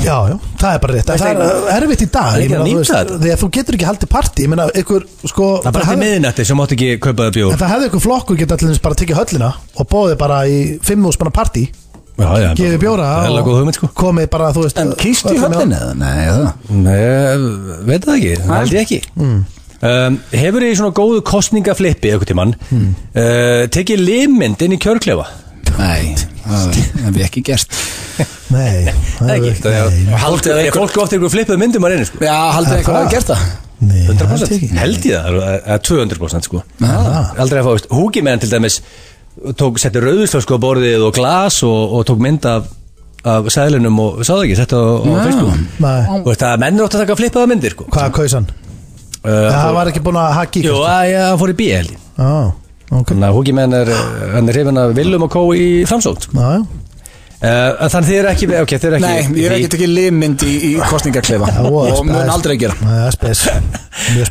já, já, það er bara rétt En Það Það er er erfitt í dag Það er ég ekki að meina, þú nýta veist, þetta. Þegar þú getur ekki haldið partí Ég meina, ykkur, sko Það er bara til hefði- miðinætti sem mátt ekki kaupa það En bjór það hefði ykkur flokkur geta til þess bara að tekja höllina og bóðið bara í fimm úr spanna partí Já, já, gefið bjóra Það er alveg góð hugmynd sko komið bara, þú veist En kýstu í öllum í höllinu eða? Nei, eða? Nei, veit það ekki, það held ég ekki um, Hefur þið í svona góðu kostningaflippi eitthvað tímann uh, Tekið limmynd inn í kjörklefa Nei, það hef ég ekki gert á- Nei, það Það er ekki nei, Það Haldið að er- Fólk- einhver- Fólk ofta ykkur flippuð myndum að reyna sko Já, haldið eitthvað að gert það nei, það held ég 100% ekki. held ég það, eða- eða 200% sko aldrei að fá, veist, húkimenn til dæmis tók, setti rauðuslösku á borðið og glas og, og tók mynd af, af sæðlinum og sá það ekki, setti á, á Já. Facebook Nei, og veist að menn eru átt að taka flippaða myndir sko. Hvað kaus hann? uh, Það var ekki búin að haka í jú, kannski? að ég fór í bí held ég Já, ok þannig að húkimenn er, eh, hann er hrifin af villum og kó í framsótt sko. Já, já. uh, þannig þið eru ekki, ok, þið eru ekki Nei, ég hef ekki tekið limmynd í, í kostningaklefa Það voru og mun spes. aldrei gera Nei, Það er spes, mjög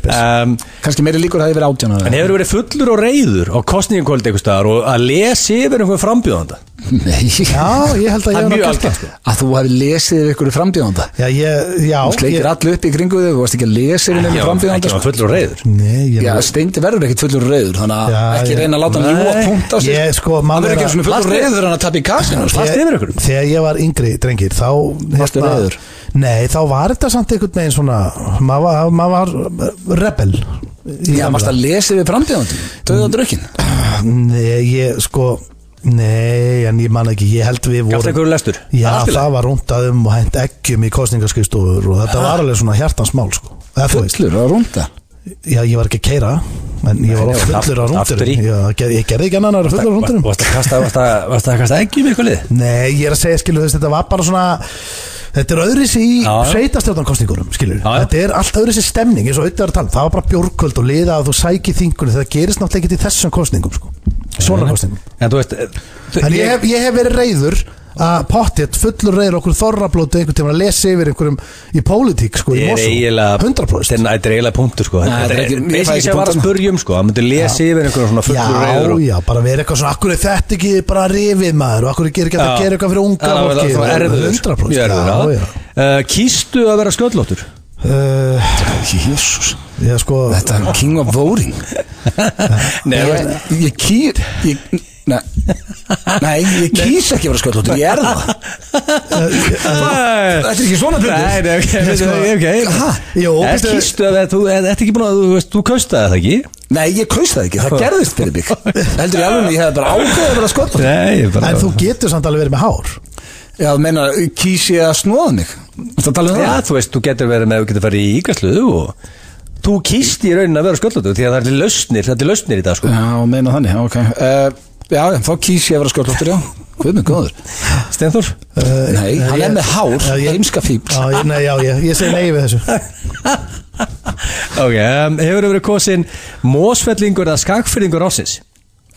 spes um, Kanski meiri líkur hefði verið átján en ára hefur verið fullur og reyður á kostningakvöldi einhvers staðar og að lesi yfir einhver frambjóðanda Nei, Já, ég held að það er ég hef mjög nú gert algjörn það. sko. að þú hefði lesið yfir ykkur frambjóðanda Já, ég, já Þú sleikir ég- all upp í kringu þig, þú varst ekki að lesa yfir Já, nefnum ekki frambjóðanda var sko. fullur og reyður Nei, ég Já, steindi verður ekkit fullur reyður þannig að Já, ekki ég- reyna að láta hann ljúa Nei. punkt á sig Ég, sko, Hann maður verður ekki er eins og að fullur reyður hann að tapja í kasinu sko. Plast yfir ykkur Þegar ég var yngri drengir þá hérna- Varstu reiður? Nei, þá var þetta samt einhvern veginn svona maður var, maður var rebel Í Já, gamla varst daga. að lesa yfir frambjóðanda Döða drökin Nei, ég sko Nei, en ég man ekki, ég held við Gafst vorum einhverju lestur Já, Það er allt í lagi. það var rúndaðum og hent eggjum í kostningarskriðstofur og þetta var alveg svona hjartansmál sko Eða þú veist, Fullur að rúnda já, ég var ekki að keira en ég var oft nei, fullur á aftur í. rúndurum Já, ég gerði- Ég gerði ekki annan að vera fullur á Var- rúndurum Varst að kasta, varst að, varst að kasta eggjum í eitthvað lið Nei, ég er að segja, skilur þú veist, þetta var bara svona Þetta er öðrisi í Já, já. sveitastjórnarkostningunum, skilur Já, já. Þetta er allt öðrisi stemning, eins og auðvitað er að tala um. Það var bara bjórkvöld og liða að þú sæki þingunni Það gerist náttúrulega ekki í þessum kostningum, sko Svona kostningum Mhm. En þú veist eh, þú- En ég hef, ég hef verið reyður að pottet fullur reyður okkur þorrablóti einhvern tímann að lesa yfir einhverjum í pólitík sko í Ég er Mosó eiginlega 100% Þetta er eiginlega punktur sko Nei, Þetta þetta er er ekki- ég fæ basically ekki sem var að punktana. spurjum sko Það myndi lesi yfir einhverjum svona Já, fullur reyður og- já, bara verið eitthvað svona Akkur er þetta ekki bara rifið maður og akkur er ekki að Já. það gera eitthvað fyrir unga Það var- það var fólki svona erfiður. 100% Mjög erfiður, já, já. já. Uh, Kýstu að vera sköllóttur Uh, Jésús já, sko, Þetta er king of voting Nei, Ég, þú veist, ég kýr ég, nei, nei, ég kýs ekki að vera sköldlótur Ég er það Þetta Þetta er ekki svona hlutur. Nei, nei, ok, Sko, ok, ha, ok jú, En veistu- Kýstu að vera, þú þetta er ekki búin að, þú veist, þú kaustaði það ekki Nei, ég kaus það ekki, það gerðist fyrir mig Heldur ég alveg, ég hef bara ákveðið að vera sköldlótur Nei, ég bara En þú getur samt alveg verið með hár Já, þú meinar, kýs ég að snóða mig Það tala um Já, það þú veist, þú getur verið með, þú getur farið í ígæslu og þú kýst í raunin að vera sköldlóttur því að það er til lausnir, það er til lausnir í dag sko. Já, meina þannig, ok uh, Já, já, þá kýs ég að vera sköldlótur, já Hvað með góður? Steinþór? Nei, hann er með hár, Já, ég- heimska fíbl Eh, Já, ég, nei, já, ég, ég segi nei við þessu Ok, um, hefur verið kosin mósfellingur eða skakfyrringur ásins?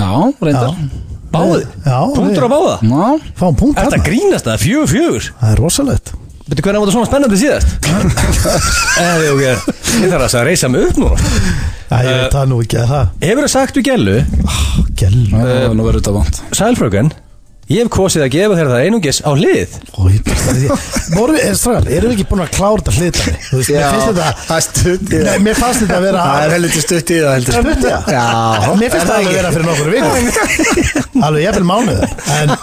Já, reyndar Eh, Báði? Já, Punktur á við- báða? Ná, Fáum punkt Þetta hérna grínast það, fjögur fjögur Það er rosalegt Veitu hvernig var þetta svona spennandi síðast? Eða, ok, ég þarf að reysa mig upp núna Æ, ég veit það nú ekki að það Hefur verið sagt við gælu, Gjell já, nú verður þetta vant sælfrökan Ég hef kosið að gefa þér það einungis á hlið Vorum við, er, strákar, erum við ekki búin að klára þetta hlutan Þú veist, mér finnst þetta það er stutt í Nei, mér fannst þetta að vera Það er helviti stutt í það heldur Stutt í það? Já Mér finnst það alveg vera fyrir nokkur vikur Alveg jafnvel mánuð En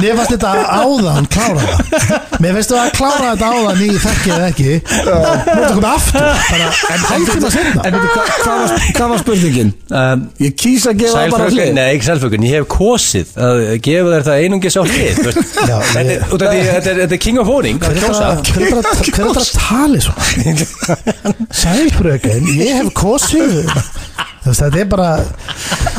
mér fannst þetta áðan klára það Mér finnst það að klára þetta áðan í þekki eða ekki Nú er þetta komið aftur bara, En hálftíma setna En veitu, hva- hvað var, hvað var spurningin? um, Ég kýs að gefa það bara Sælfökun, hlið nei ekki sælfökun, ég hef kosið að gefa þér það einungis á hlið þú veist. Já, Þetta er- ég- út af því að þetta er- þetta er king of honing Hver er það- hver er það hver er það að tali svona? Sælbrökin, ég hef kosið Þú veist, þetta er bara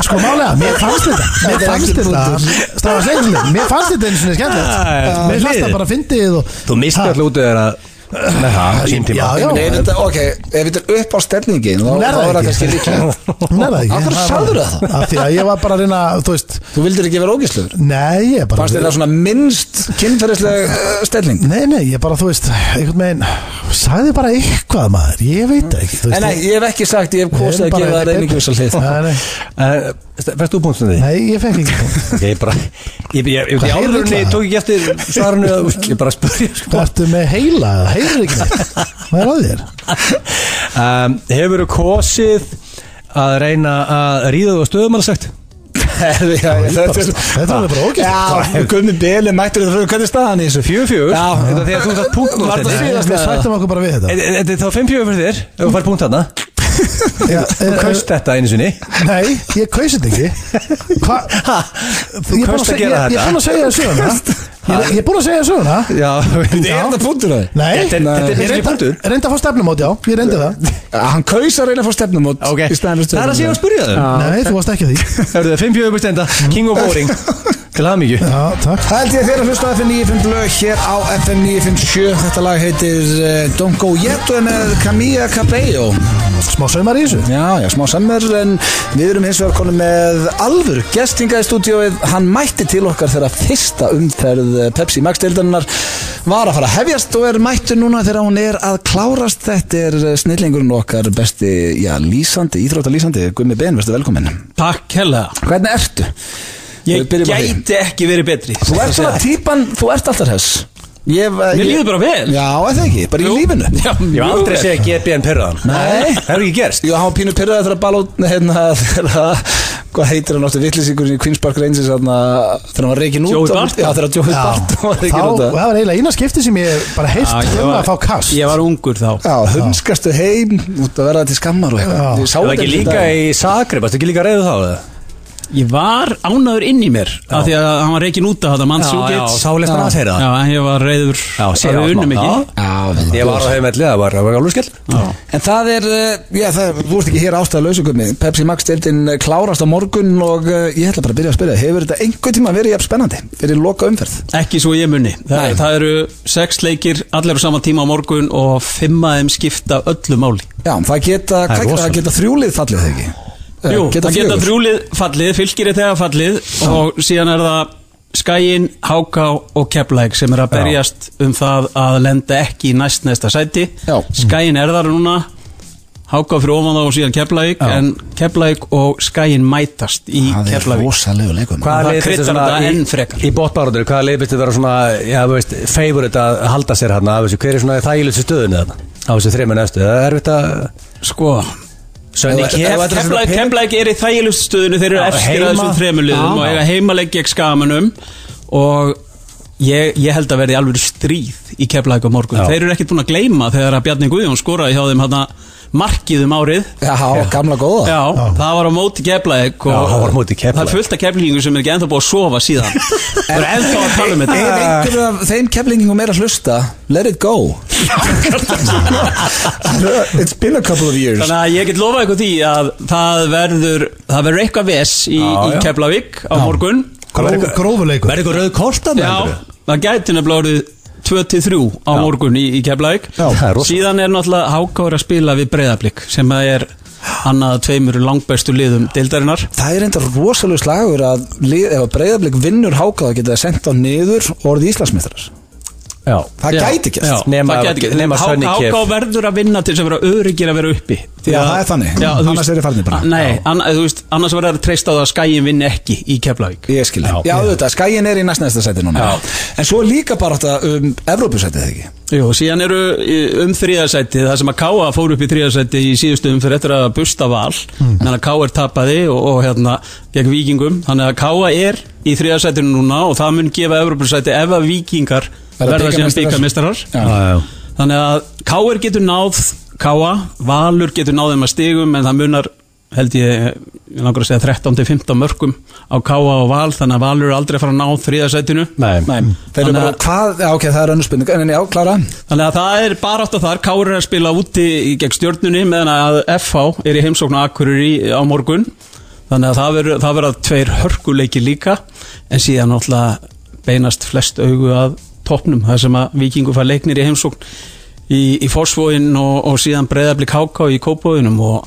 Sko málega, mér fannst þetta Mér fannst þetta Stafa segjumlega, mér fannst þetta einu sinni skemmtilegt Ah, Mér fannst liðið. það bara fyndið og Þú misti alltaf út af þér að Nei, það, sín tíma Já, já, Nei, ef þetta, ok, ef þetta er upp á stefningin Þá þá Hún er er það það ekki. kannski líka Hún er það ekki Af hverju Það sagðirðu var- það? Af því að ég var bara að reyna, þú veist Þú vildir ekki vera ógislegur Nei, ég bara Fannst þér það svona minnst kynferðisleg uh, stefning? Nei, nei, ég bara, þú veist, einhvern veginn sagði bara eitthvað maður, ég veit það ekki þú En nei, veist, ég hef ekki sagt, ég hef Við kosið að erum bara gefa það hérna í reyningu þess að hlið Nei, nei. Eh, Fæst þú punktum því? nei, ég fekk ekki Ég bara, ég, ég, ég, Hvað ég heyrðu álurni illa? tók ekki eftir svarinu að, úst, ég bara spurði sko. Ertu með heila, heyrðu ekki neitt? Hvað er að þér? um, Hefur þú kosið að reyna að ríða þú á stöðum alveg sagt? Þetta er alveg bara ógæst Já, Gummi Beli mættur þetta fyrir hvernig staðan í þessu Fjögur fjögur? Já, þetta er því að þú þátt punktum Var þetta síðast? Við sættum okkur bara við þetta Þetta er þá fimm fjögur fyrir þér, ef þú fær punkt þarna Já, Þú eh, kaust þetta einu sinni Nei, ég kaus þetta ekki Hva? þú Ég er búinn kaust að seg- gera ég- Ég er þetta. búinn að segja það söguna Ég- Ég er búinn að segja það söguna Já, Er já. þetta punktur að þið? Nei, Þetta er- þetta er ég ekki reyndi- punktur. Reyndi að fá stefnumót, já, ég reyndi það Hann kaus að reyna að fá stefnumót Ok, í staðan fyrir það er að stjórnum. segja að spurja þau Já. Nei, þú varst ekki að því Það eru það fimm fjögur bestenda, king of boring Til aða mikið Já, takk Það held ég að þeirra hlusta á FM 95 lög hér á FM 957 Þetta lag heitir eh, Don't Go Yet og er með Camilla Cabello Smá saumar í þessu Já, já, smá sammer en við erum hins vegar konum með alvöru gestinga í stúdíóið Hann mætti til okkar þegar fyrsta umferð eh, Pepsi Max-deildarinnar var að fara að hefjast og er mættur núna þegar hún er að klárast Þetta er eh, snillingurinn okkar besti, já, lýsandi, íþróta lýsandi Guðmi Ben, verður velkominn Takk hella Hvernig ertu? Ég Við byrjum á því. gæti ekki verið betri Þú ert svona Mér típan, þú ert alltaf þess Ég, hef- ég, líður bara vel Já, er það ekki, bara í lífinu Já, Ég hef mjög aldrei vel. segja GBN perraðan Nei. Það hefur ekki gerst Ég hafa pínu pyrraði þegar að balótna hérna þegar að hvað heitir hann áttu vittlisíkurinn í Queen's Park Rangers þarna, þegar hann var reikin út Joey á- Barton. Já, þegar að Joey Já, Barton var þá- reikin út Það af- var eiginlega eina skipti sem ég bara heilt Já, um að fá kast Ég var ungur þá Já, hundskastu heim út að vera til skammar og Já. eitthvað Ég sá Það var ekki þetta líka dag. í Zagreb, varstu ekki líka reyðu þá? eða? Ég var ánaður inn í mér af Því að hann var reikin út af þetta mann sá leist hann að segja það Já, en ég var reyður Já, að segja við það unnum smá. ekki Já, við- Ég var á heimelli, það var, það var alveg skell Já. En það er, eh, já, það, þú ert ekki hér ástæða lausugummi Pepsi Max deildin eh, klárast á morgun og eh, ég ætla bara að byrja að spyrja Hefur þetta einhvern tíma verið jafn spennandi fyrir loka umferð? Ekki svo ég munni Þa, Nei. Það eru sex leikir, allir á sama tíma á morgun og fimm að þeim skipta öllu máli Já, það geta, er hvað, rosalegt. það geta þrjúlið fallið þegar ekki Eh, Jú, það geta fjögur. þrjúlið fallið, fylgir er þegar fallið og síðan er það Skæin, Háká og Keflæk sem er að berjast um það að lenda ekki í næst næsta sæti Já. Skæin er þar núna Háká fyrir ofan þá og síðan Keflæk en Keflæk og Skæin mætast í Það er Keflæk rosalegu leikum Það lið finnst þér kryddar þetta í- enn frekar. Í botbaróttur, hvaða lið byrstu vera svona Já, þú veist, favorite að halda sér hann Hver er svona þægilegstu stöðunni þarna? Á þessu þreimur næstu, það er þetta Sko, Sönni Ef- ef þetta er svona Keflæk, pe- Keflæk er í þægilegstu stöðinu þeir eru Já, eftir heima. að þessum þremuliðum Já. og eiga heimaleik gegn skamunum og ég, ég held að verði alveg stríð í Keflæk á morgun Já. þeir eru ekkert búin að gleyma þegar að Bjarni Guðjón skoraði hjá þeim hana markið um árið Já, gamla góða Já, það var á móti Keflæk Ah, og Já, það var á móti Keflavík. Það er fullt af Keflækingu sem er ekki ennþá búið að sofa síðan Það er ennþá að tala um Ef þetta einhverju af þeim keflingum er að hlusta Let it go It's been a couple of years Þannig að ég get lofað ykkur því að það verður, það verður eitthvað ves í, Já, já. í Keflavík á morgun Gróf- Grófuleikur Verður ykkur rauð korta með Já, það gæti nefnilega orðið 2-3 á morgun í, í Keflavík Já, það er rosa. Síðan er náttúrulega hákáður að spila við breyðablík sem að er annað af tveimur langbæstu liðum deildarinnar Það er enda rosalega slagur að lið, ef að breyðablík vinnur hákaða geta það sendt á niður og orðið Íslandsmeistrar Já, Það Já. gæti Já, gert Nema- það gæti ekki nema Há- Sonny Kef. Háká verður að vinna til þess að vera öryggir að vera uppi Því Já, að- það er þannig. Já, þú Annars veist- eru þeir farnir bara. a- Nei, anna, þú veist, annars verður það treyst á það að skæin vinni ekki í Keflavík Ég skil Já. það Já, auðvitað, skæin er í næst næsta sæti núna Já. En svo er líka bara þetta um Evrópusætið ekki Jú, síðan eru í- um þriðarsæti það sem að K.A. fór upp í þriðarsæti í síðustu umferð eftir að busta val þannig að K.A. er tapaði og, og hérna gegn vikingum, þannig að K.A. er í þriðarsætinu núna og það mun gefa Evropasæti ef að vikingar Verða verða síðan bikarmeistarar. byggamestarar þannig að K.A. getur náð K.A. Valur getur náð þeim að stigum en það munar held ég, ég langar að segja 13-15 mörgum á K.A. og Val þannig að Valur er aldrei að fara að ná þriðarsætinu Nei. Nei, þeir eru Mm. Þannig bara, að- hvað, já, ok, það er önnur spurning En en já, klára Þannig að það er bara átt að þar, Káur er að spila úti í- gegn stjórnunni meðan að FH er í heimsóknu Akurur í, á morgun Þannig að það verður- það verða tveir hörkuleiki líka en síðan náttúrulega beinast flest augu að topnum þar sem að vikingu fær leiknir í heimsókn í, í Forsvóin og, og síðan breyðablik háká í Kópóinum og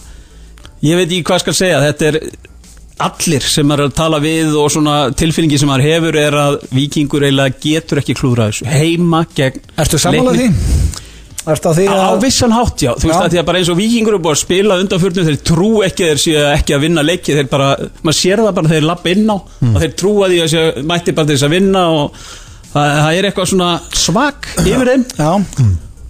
ég veit ekki hvað skal segja þetta er allir sem maður er að tala við og svona tilfinningi sem maður hefur er að vikingur eiginlega getur ekki klúðra þessu heima gegn Ertu sammála leikni- því? Ertu á því Á að vissan hátt, já, þú veist Já. að því að bara eins og vikingur er búið að spila undanfjörnum, þeir trú ekki að þeir séu ekki að vinna leiki, þeir bara, maður sér það bara þegar þeir lappa inn á, Hmm. að þeir trúa því að séu mætti bara til þess að vinna og það, það er eitthvað svona svak yfir þeim Já,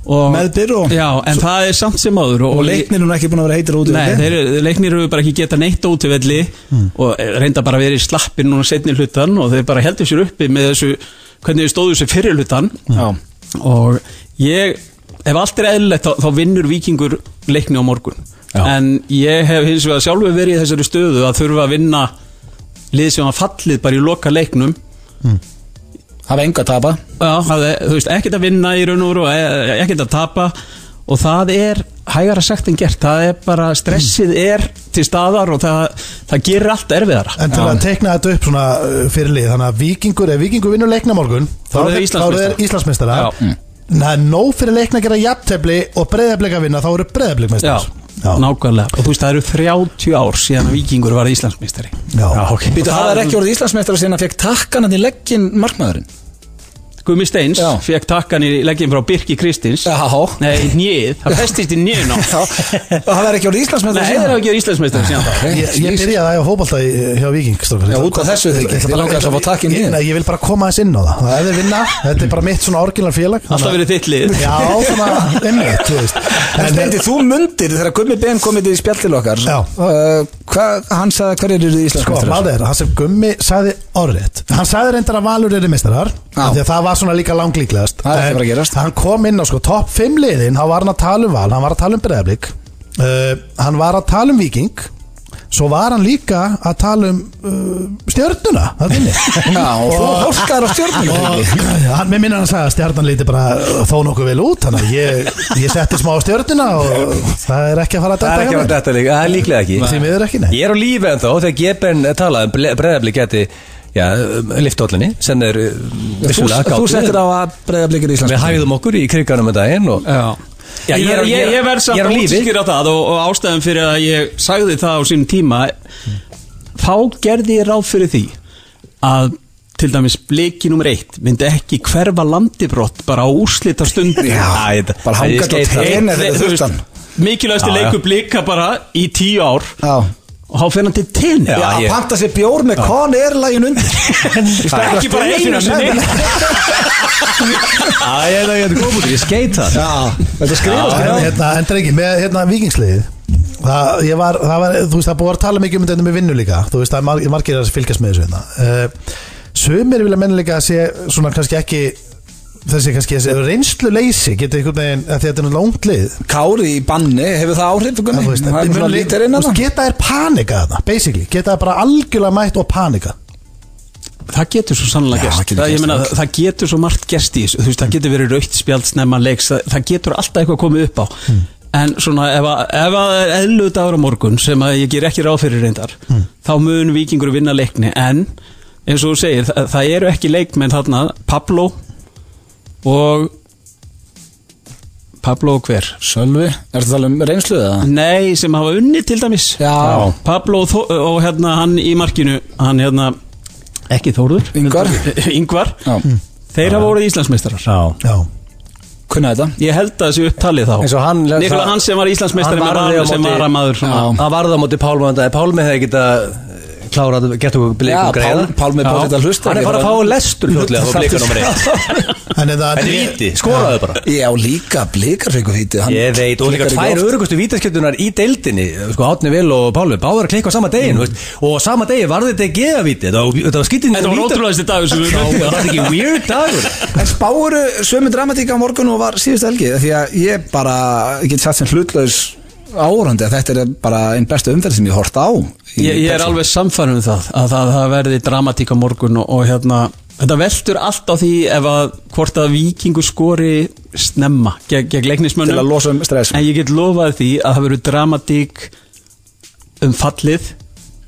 og, Meðbyr og- Já, en það er samt sem áður og leiknir hún ekki búin að vera heitir út í Nei, velli. þeir, eru- leiknir eru bara ekki geta neitt út í velli Hmm. og reynda bara að vera í slappin núna setni hlutan og þeir bara heldur sér uppi með þessu, hvernig þeir stóðu sér fyrir hlutan Já. og ég, ef allt er eðlilegt þá, þá vinnur vikingur leikni á morgun Já. en ég hef hins vegar sjálfur verið í þessari stöðu að þurfa að vinna lið sem var fallið bara í loka leiknum hafa enga að tapa Já, það er, þú veist, ekkert að vinna í raun og veru og e- ekkert að tapa og það er hægara sagt en gert það er bara, stressið er til staðar og það, það gerir allt erfiðara En til að teikna þetta upp svona uh, fyrir lið Þannig að vikingur, ef vikingur vinnur leikna morgun Þá eru þeir Íslandsmeistarar. Íslandsmeistara Já. Mm. Það er nóg fyrir leikna að gera jafntefli og breyðablik að vinna, þá eru Já, breyðablikmeistar nákvæmlega og þú veist, það eru 30 ár síðan að vikingur var Íslandsmeistari Já, ok Býtu, það er ekki orðið Íslandsmeistrar sinna fekk takkan hann í leggin markmaðurinn Gumi Steins Já. fekk takkan í leggin frá Birki Kristins Já, Nei, nýð, það festist í nýðun á Já. Það er ekki orðið Íslandsmeistar Nei, það er ekki Íslandsmeistari síðan þá Ég, ég byrjaði að æfa fótbolta í- hjá Viking strókar. Já, út af þessu þig, ég ætla bara langaði að fá takkinn í Ég- þig. Nei, ég vil bara koma aðeins inn á það Það er við vinna, þetta er bara mitt svona orginal félag Alltaf verið þitt lið Já, svona, einmitt, þú veist En En, Steindi, þú mundir þegar Gummi Ben komið í spjall til okkar Já. uh, hvað, Hann sagði hverjir eru Sko, Íslandsmeistrar málið er, hann sem Gummi sagði orðrétt Hann sagði reyndar að Valur eru meistarar af Því að það var svona líka langlíklegast Það er ekki En bara að gerast. Hann kom inn á sko, topp 5 liðin Hann var hann að tala um Val, hann var að tala um Breiðablík uh, Hann var að tala um Víking Svo var hann líka að tala um uh, Stjörnuna Það finni Já, og svo hálkaður á Og stjórnum hann, mér minna hann að sagði að stjarnan líti bara uh, þó nokkuð vel út Þannig að ég, ég setti smá á stjörnuna og það er ekki að fara að Það er ekki að dæta þetta líka, það er líklega ekki Því miður ekki, nei Ég er á lífi en þá, þegar Geben talaði Breðabli geti, já, liftóllinni sem er uh, Þú, vissulega þú settir á að breyða blikir Við Íslandsmeistrar hægðum okkur í kriganum en daginn og Já. Já, ég, ég er- ég, ég, verð samt ég er á að lífi. útskýra það og, og ástæðan fyrir að ég sagði það á sínum tíma þá gerði ég ráð fyrir því að til dæmis bliki nummer eitt myndi ekki hverfa landibrott bara á úrslita stundu Æ, þetta- bara hangandi ég á skil það. tré. Einar fyrir þurftan. Já, mikilvægsti já. leiku blika bara í tíu ár Já. og þá fyrir hann til tenni Já, Að ég- panta sér bjór með kon er lægin undir Það er ekki bara einu sinni Æ, ég er ekki að koma út, ég skeit það Já, þetta skrifast En, hérna. hérna, en drengi, með hérna vikingsliðið það, ég var, það var, þú veist, það er búið að tala mikið um þetta með vinnu líka, þú veist, það er mar margir að fylgjast með þessu hérna uh, Sumir vilja menna líka að sé svona kannski ekki þessi kannski þessi reynslu leysi getur einhvern veginn, að því þetta er náttúrulega ungt lið Kári í banni, hefur það áhrif en Gummi? þú veist, Það er þetta svona mun líka- lítir inn þú að veist, geta þær panika þarna, basically, geta þær bara algjörlega mætt og panika Það getur svo Já, sannlega gerst það getur það, ég gerst. meina, það- það getur svo margt gerst í þessu Þú veist, Það getur verið raukt spjald snemma leiks Það, það getur alltaf eitthvað komið upp á En svona ef að, ef að það er eðlu dagur á morgun sem að ég ger ekki ráð fyrir reyndar þá mun vikingur vinna leikni en eins og þú segir það, það eru ekki leikmenn þarna Pablo og Pablo og hver? Sölvi, ertu að tala um reynslu eða? Nei, sem hafa unni til dæmis Já. Pablo og, Þó- og hérna hann í markinu hann hérna, ekki Þórður Yngvar. Yngvar Já. Mm. Þeir hafa voruð Íslandsmeistarar Já, Já, Kunna þetta? Ég held að þessi upptalið þá Eins og hann- Nikola það- Hansen var Íslandsmeistari Hann með varði á Valur sem móti- varamaður svona. Já. það varða á móti Pálma en það er Pálmi hefði geta klárað, gett okkur Já, blikum greiða Pál- Pálmi er bara þetta að hlusta. Hann er bara að fá lestur hljóðlega á blikum nummer 1 en ef það Þetta er viti, skoraðu bara Já, líka blikar fengur þýtti Ég veit, og líka tvær örugustu vítaskjöldunar í deildinni, sko Átni Vil og Pálmi báður að klikka á sama degin, veist, og á sama degi varði þetta ekki eða víti, þetta var- þetta var skýttin Þetta var ótrúlegaðasti dagur sem við Það var þetta ekki weird dagur En spáuru sömu dramatík á morgun og var síðust helgi Því að ég bara get satt sem hlutlaus áhorandi að þetta er bara einn bestu umferð sem ég hort á í Ég, ég er persónu. alveg samfærum um það að það, það verði dramatík á morgun og, og hérna þetta veldur allt á því ef að hvort að vikingu skori snemma gegn, gegn leiknismönnum Til að losa um stress. En ég get lofað því að það verður dramatík um fallið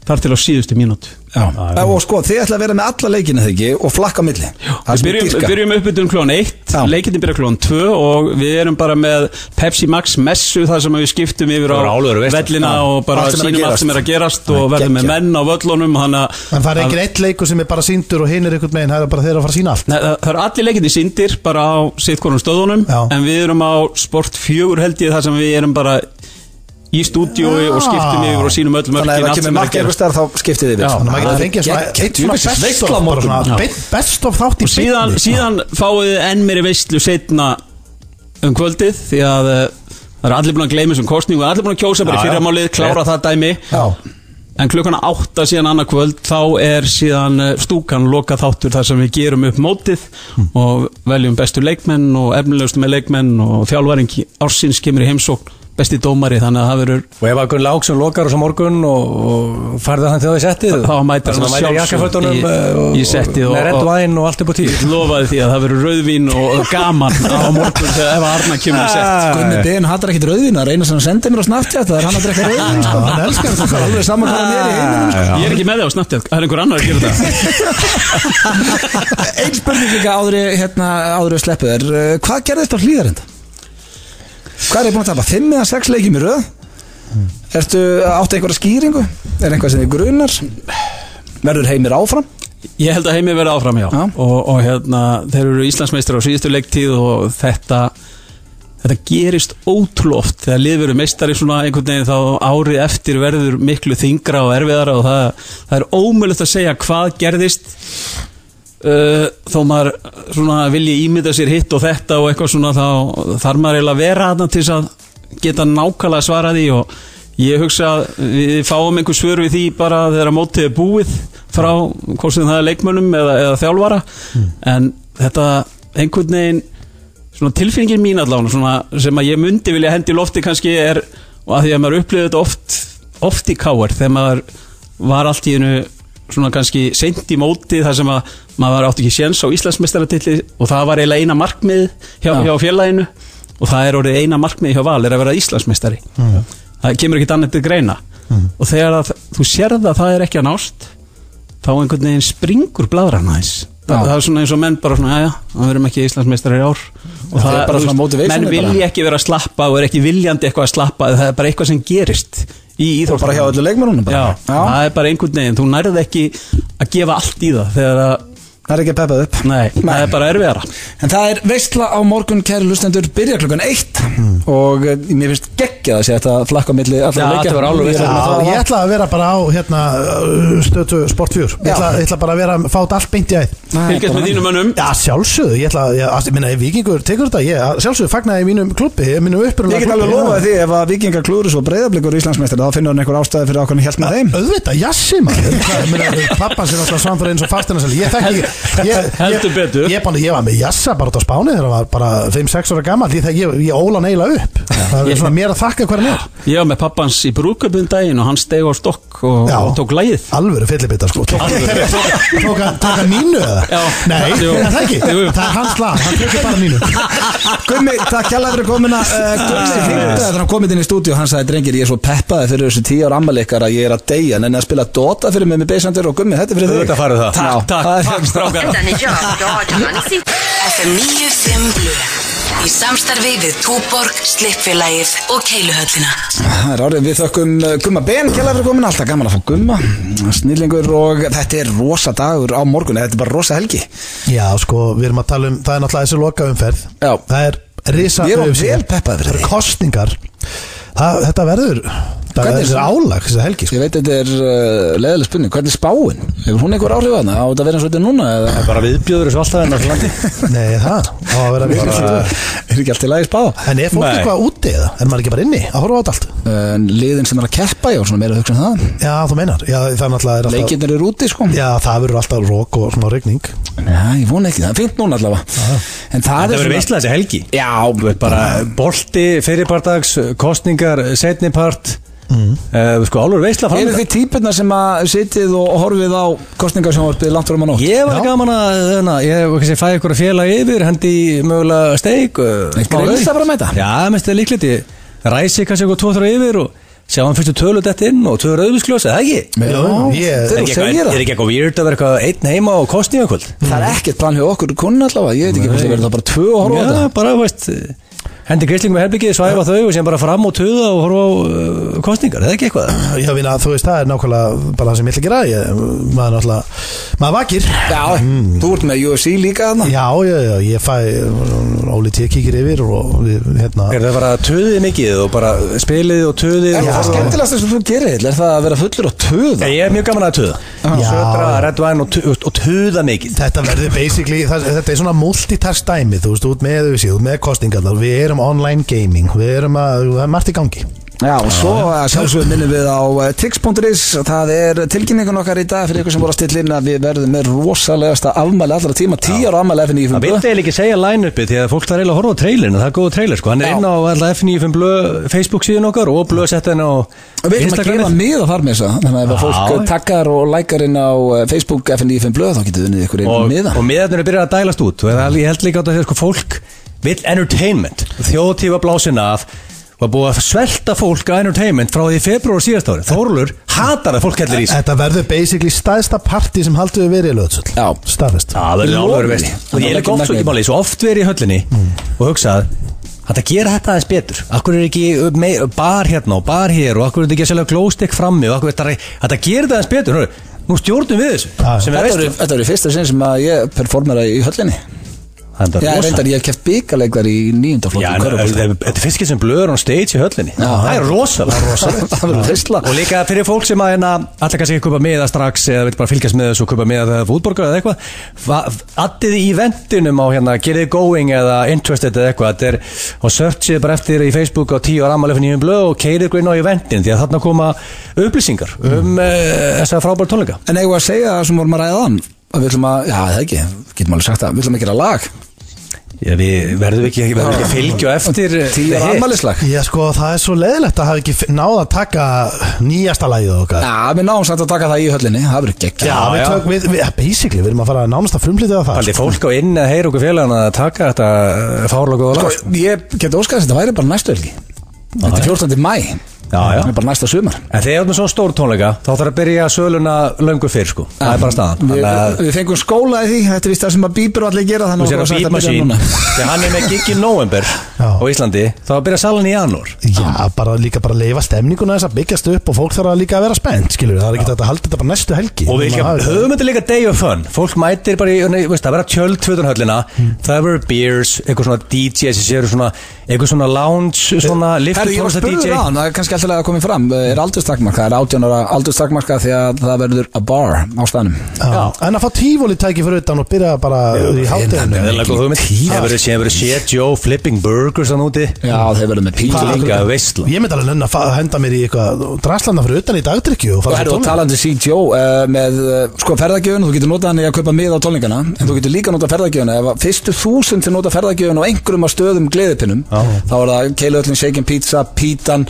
þar til á síðustu mínútu Já. Og sko, þið ætla að vera með alla leikina þegar ekki og flakka á milli Það er Við sem ég byrjum, dýrka. byrjum uppbytun klón 1, Já. leikinni byrja klón 2 og við erum bara með Pepsi Max messu þar sem við skiptum yfir á Það var álögur veisla. vellina Já. og bara Allt sem er að sínum allt gerast. sem er að gerast og verðum með menn á völlunum þannig að En það er engin eitt leikur sem er bara síndur og hinn er einhvern veginn, það er bara þeirra að fara að sína allt Nei, það, það eru allir leikinni síndir bara á sittkonum stöðunum Já. en við erum á sport fjögur held ég þar sem við erum bara í stúdíói Já. og skiptum yfir og sínum öll Ah. Þannig að ef mörkin það kemur mark einhver starf þá skiptið þið við Já. sko. Þannig að maður Það getur er fengið svona- gegn- eitt svona djúvis best veisla of, á bara morgun. svona Já. be- best of þátt í og síðan, beinni. síðan fáið þið enn meiri veistlu setna um kvöldið því að eh, það eru allir búin að gleyma þessum kostningu það eru allir búin að kjósa bara í Já, já. fyrramálið, klára það dæmi Já, en klukkana átta síðan annað kvöld þá er síðan eh, stúkan loka þáttur þar sem við gerum upp mótið Hmm. og veljum bestu leikmenn og efnilegustu með leikmenn og þjálfæring ársins kemur í heimsókn besti dómari þannig að það verður Og ef Akun Láksson lokar á svo morgun og, og færði hann til það í settið Þá mætir hann hann sjálfsögð sjálfsög jakkafötunum í- eh, og- í settið og og- með og- redd væn og allt upp á tíu lofaði því að það verður rauðvín og gaman á morgun þegar Eva Arna kemur í sett Ah. Gunni Ben hattar ekkit rauðvina, reyna sem hann sendi mér á Snapchat það er hann að drekka rauðvina sko. hann elskar þetta Ah. Það er alveg saman hvað hann er í heiminum sko. Ég er ekki með þig á Snapchat, það er einhver annar að gera það Einn spurning líka áður í- hérna, áður að sleppu þér Eh, Hvað gerðist á hlýðarenda? Hvað er ég búin að tapa? Fimm eða sex leikjum í röð? Ertu áttu einhverja skýringu? Er einhvað sem þið grunar? Verður heimir áfram? Ég held að heimi verið áfram, já Já. Og, og hérna, þeir eru Íslandsmeistar á síðustu leiktíð og þetta þetta gerist ótrúlega oft þegar lið verður meistari svona einhvern veginn þá árið eftir verður miklu þingra og erfiðara og það, það er ómögulegt að segja hvað gerðist uh, þó maður svona vilji ímynda sér hitt og þetta og eitthvað svona þá þarf maður eiginlega að vera þarna til þess að geta nákvæmlega svarað því og ég hugsa að við fáum einhver svör við því bara þegar mótið er búið frá hvort sem það er leikmönnum eða, eða þjálfara en þetta einhvern veginn svona tilfinningin mín allavega svona, sem að ég myndi vilja hendi í lofti kannski er og að því að maður upplifði þetta oft oft í káar þegar maður var allt í hennu svona kannski seint í móti þar sem að maður átti ekki séns á Íslandsmestaratilli og það var eiginlega eina markmið hjá, hjá félaginu og það er orðið eina markmið hjá Val er að vera Íslandsmestari það kemur ekkit annað til greina og þegar að, þú sérð að það er ekki að nást þá einhvern veginn springur bladran aðeins Þa, það er svona eins og menn bara svona, já, við erum ekki Íslandsmeistrar í ár og Það Mm. er bara þú svona veist, motivation menn bara. vilja ekki vera að slappa og er ekki viljandi eitthvað að slappa það er bara eitthvað sem gerist í Og bara hjá íþróttum öllu leikmörunum bara? Já, það er bara einhvern veginn, þú nærið ekki að gefa allt í það þegar að, Það er ekki að peppað upp nei, það er bara erfiðara En það er veistla á morgun, kæri lustendur, byrja klukkan eitt og eh, mér finnst geggjað að sé þetta flakka á milli allra Já, leikja. þetta var alveg veistla. Já, ég ætla að vera bara á hérna, stötu sportfjör ég Já. ætla, ég ætla bara að vera að fá þetta allt beint í æð Nei, fylgjast bara með þínum mönnum Já, sjálfsögðu, ég ætla að, ég, að- ég minna, ef vikingur tekur þetta, ég, að sjálfsögðu, fagnaði í mínum klubbi, mínum Ég upprunalega get alveg lofað því ef að vikingar klúður svo breyðablikur í Íslandsmeistar þá finnur hann einhver ástæði fyrir ákvæmni hjælt með þeim Auðvitað, jassi maður Það- meina, Pappan sér alltaf samfyrir eins og fastinasæli Ég þekki ég- ég- Heldur betur. Ég, ég, bara- ég var með jassa bara út á Spáni þegar það var bara 5-6 ára gammal Ég, ég, ég óla neila upp Það er svona mér að þakka hver hann er Ég var með pappans í brúköpun daginn og hann steg á stokk og, Já. og tók lægið Alvöru fyllibita sko Tók tók hann tók hann nínu eða? Já. Nei, Jú. er það ekki Jú, jú. Það er hans lag, hann tekur bara nínu Gummi, takk kjalla fyrir komina uh, Gummi hringdi þegar hann komið inn í stúdíu hann sagði drengir ég er svo peppaði fyrir þessu tíu ára ammaleikar að ég er að deyja en að spila Dota fyrir mig með beisandur og Gummi þetta er fyrir þig Auðvitað farið það. Já, það Takk, takk, er- takk strákar Þannig já, dóttan í sitt FM 95 Blö Í samstarfi við Túborg, Slippfélagið og Keiluhöllina Það er árið, við þökkum eh, Gumma Ben kjalla fyrir komina alltaf gaman að fá Gumma snillingur og þetta er rosa dagur á morgun þetta er bara rosa helgi Já sko, við erum að tala um, það er náttúrulega þessi lokaumferð Já. Það er risa Ég er of UFC. vel peppaður fyrir Það eru því. kostningar það, Þetta verður, það Hvernig er verður það? álag þessi helgi sko. Ég veit þetta er uh, leðileg spurning, hvernig er spáin? Hefur hún einhver áhrif að hana? Á þetta að vera eins og þetta er núna? Eða? Bara viðbjöður þessu alltaf enn á landi Nei, það, það var að Bara, vera virkilega Eh, er ekki allt í lagi spá? En er fólk Nei. eitthvað úti eða? Er maður ekki bara inni að horfa á þetta allt? Uh, liðin sem er að keppa, ég var svona meira að hugsa um það Já, þú meinar, já, það er náttúrulega er alltaf, Leikirnir eru úti sko Já, það verður alltaf rók og svona regning Já, ég vona ekki, það er fint núna allavega En það, Það verður er veistlega þessi helgi Já, Bara bolti, fyrirpartags, kostningar, setnipart eh, Sko álur veistlega Eru fram þið típurna sem að sitið og horfið á kostningarsjónvarpið langt fram á nótt? Ég var Já. gaman að, þarna, ég kannski fæ ykkur að fjela yfir, hendi í mögulega steik. eh, smá grillsa rauð. bara með þetta? Já, mest er líklegt, ég ræsi kannski ykkur tvo þrjá yfir og sjáum fyrstu tölu þetta inn og tvö rauðvískljósa, það ekki? Já, ég- Er þeir ekki segja eitthvað- það er ekki eitthvað weird að vera eitthvað einn heima og kostnýja kvöld? Það er ekkert plan hjá okkur kunn allavega, ég veit ekki hvort það verður það bara tvö og horfa á Mm. Já, þetta bara, þú veist hendi greislingum í herbyggið, svæfa þau og sem bara fram og tuða og horfa á uh, kostningar, eða ekki eitthvað? Já, vinna, þú veist, það er nákvæmlega bara það sem ég ætla að gera ég, maður náttúrulega, maður vakir Já, Mm. þú ert með UFC líka þarna Já, já, já, ég fæ Óli T. kíkir yfir og við, hérna Er það bara tuðið mikið og bara spilið og tuðið Er og það skemmtilegast sem þú gerir, Egill? er það að vera fullur og töða? Nei, Ég er mjög gaman að tuða Já. Södra, reddvæn og, tu- þú veist, og tuða mikið Þetta verður basically, það, þetta er svona multitask dæmi, þú veist, út með auðvísi, út með kostningarnar, við erum online gaming, við erum að, það er margt í gangi. Já, og svo að sjálfsögum minnum við á eh, tix.is Það er tilkynningun okkar í dag fyrir ykkur sem voru að stilla inn að við verðum með rosalegasta afmæli allra tíma 10 ára afmæli FNÍ Það vildi eiginlega ekki segja line-upi því að fólk þarf eiginlega að horfa á trailerinu, það er góða trailer sko, hann er Já. inn á alltaf F95 blö, Facebook síðan okkar og blö sett henni á Við erum að gefa miða þar með þessa Þannig að ef að Já. fólk takkar og lækar inn á eh, Facebook FNÍ 5 blöð þá getið unnið ykkur einu og, miða og miðarnir er byrjað að dælast út og það- ég held líka á þetta að sko, fólk vill entertainment, þjóðtíð var blásin af var búið að svelta fólk að entertainment frá því februar síðast ári Þórulur hatar að fólk hellir í sig Þetta verður basically staðsta partí sem haldur við verið í löðsöld. Já. Staðfest. það verður Í alveg lofinni. veist Það og ég er er ekki oft ekki svo ekki magnaðið. máli svo oft verið í höllinni Mm. og hugsað Þetta gera þetta aðeins betur Akkur er ekki uh, mei- bar hérna og bar hér og akkur er þetta ekki að selja glóstek frammi og akkur er þetta Þetta gera þetta aðeins betur Hörru, Nú stjórnum við þessu Já. sem er Þetta veist verður- þetta verður fyrsta sinn sem að ég performera í höllinni Það Já, er rosa. reyndar, ég hef keft byggarleikðar í Já, nýjundaflokki en þetta er- þetta er fiskir sem blöður on stage í höllinni Það er rosalega Það verður veistla Og líka fyrir fólk sem að hérna Alltaf kannski ekki kaupa miða strax Eða vil bara fylgjast með þessu og kaupa miða þegar það er fútborgar eða eitthvað Attið í eventinum á hérna Gerið going eða interested eða eitthvað Þetta er Og searchið bara eftir í Facebook á 10 ára ammali fyrir nýjum blöð Og keirið ykkur inn á eventin Því að þarna koma upplýsingar Um mm. þessa frábæra tónleika En eigum við að segja það sem vorum að ræða hann að við ætlum að, já það ekki, við getum alveg sagt það við ætlum að gera lag Já, við verðum ekki, verðum ekki að fylgja á eftir eh, tíu ára hitt. ammælislag Já, sko, það er svo leiðilegt að hafa ekki náða að taka nýjasta lagið okkar. Já, við náum samt að taka það í höllinni, það verður gegn Já, við já. tökum, við, við, basically, við erum að fara að nánast að frumlítið að það. sko. Paldi fólk á inn að heyra okkur félagana að taka þetta fárlöku og lag sko. Ég get óskast að þetta væri bara næstu helgi Þetta er 14. mæ Já, já. Það er bara næsta sumar En þegar þú erum svona stór tónleika þá þarf að byrja söluna löngu fyrr sko Það er bara staðan Við, Þannig að við fengum skóla í því, þetta er víst það sem að bíbir og allir gera þú þannig sér að okkur sagt byrja bípmasín núna. Þegar hann er með gig í november Já. á Íslandi þá byrja salan í janúar Já, bara líka bara leifa stemninguna þess að byggjast upp og fólk þarf að líka að vera spennt, skilur við, það er ekki þetta að halda þetta bara næstu helgi. Og við Maður líka, hafi- höfum þetta líka day of fun Fólk mætir bara í, nei, veist, það verða tjöld tvöðun höllina Mm. Það verður beers, eitthvað svona DJ sem séu svona, eitthvað svona lounge svona Herri, liftur Eh, ég var tónlista spurður DJ á það er kannski alltaf að komið fram Eh, er aldurstakmarka, það er 18 ára aldurstakmarka því að það verður a bar á staðnum Já. En að fá tífóli tæki fyrir utan og byrja bara í hátteginu. Það er alveg góð hugmynd Það verður séð, verður séð Joe Flipping Burgers þann úti Já, þeir verður með píl Hvað? Líka veisla. Ég myndi alveg nenn að fa- henda mér í eitthvað draslanda fyrir utan í dagdrykju og Og fara herru, svo og tónlega talandi CTO uh, með, uh, sko, ferðagjöfun, þú getur notað hann í að kaupa miða á tónlingana, en þú getur líka notað ferðagjöfun, ef að fyrstu þúsund til nota ferðagjöfun á einhverjum af stöðum gleðipinnum, þá er það keiluöllin, shaken pizza, pítan,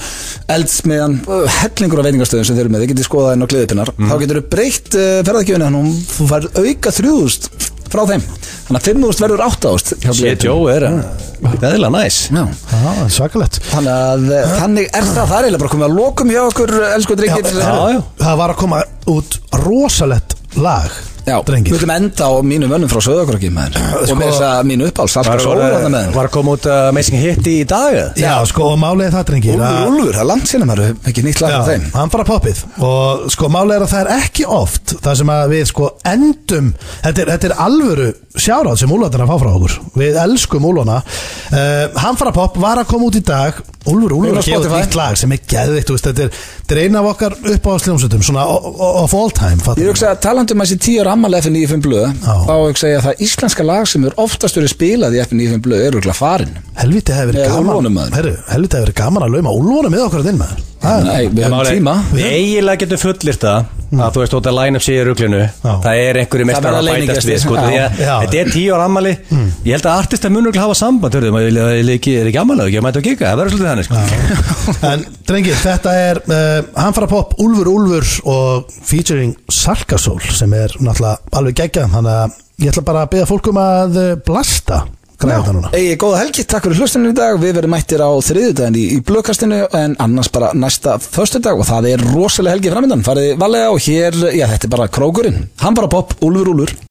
eldsmiðan, uh, hellingur af veitingastöðum sem þeir eru með, þið getur skoðað henn á gleðipinnar, Mhm. þá getur þú breytt uh, ferðagjöfun, þannig að þú fær auka þrjúðust frá þeim, þannig að fimmúðust verður áttaðust hjá Séð gleðipinnum. Joe er eðla næs Já. Já, svakalegt Þannig að eh, þannig er það, það er eiginlega bara komið að lokum hjá okkur, elsku drengir. Já, já Það var að koma út rosalett lag Já, við Drengir Sko, viljum enda á mínu mönnum frá Söðakröki maður og með þess að mínu uppáls alltaf Var, sólvarna með var, þeim var að koma út uh, Amazing Hit í dag eða? Já, sko, og málið er það, drengir Úlfur, að- Úlfur, það er langt sinna maður ekki nýtt lag Já, af þeim hann fara poppið og sko málið er að það er ekki oft það sem að við sko endum þetta er, þetta er alvöru sjáráð sem Úlfan er að fá frá okkur við elskum Úlfana uh, hann fara popp var að koma út í dag Úlfur, Úlfur Inn á er að gefa út Spotify. nýtt lag sem er geðvikt þetta er, þetta er eina af okkar upp á sljómsutum svona o- o- of all time fattar Ég þú? hugsa að talandi um þessi tíu ára ammali FN 95 blöð Já. þá hugsa ég að það íslenska lag sem er oftast verið spilað í FN 95 blöð er rúglega farin Helviti hefur Með verið Úlfunum, gaman maður. Herru, helviti hefur verið gaman að lauma Úlfunum með okkur að þinn maður Það er- Nei, við Ég höfum máli- tíma Við eiginlega getum fullir það að þú veist út að line-up sé í ruglinu það er einhverju mestar verða að bætast leynigestir. við sko, því að Já. þetta er tíu ára ammali ég held að artista munur hafa samband hörðu, maður er ekki, er ekki ammali ekki að mæta og gika, það verður svolítið þannig sko. En drengir, þetta er uh, hann fara pop Úlfur Úlfur og featuring Sarkasól sem er náttúrulega alveg geggjað þannig að ég ætla bara að beða fólk um að eh, blasta græða þetta núna Egi, góða helgi, takk fyrir hlustinu í dag Við verðum mættir á þriðjudaginn í, í blökastinu En annars bara næsta föstudag Og það er rosalega helgi framöndan Fariði valega og hér, já þetta er bara krókurinn Hann bara popp, úlfur úlfur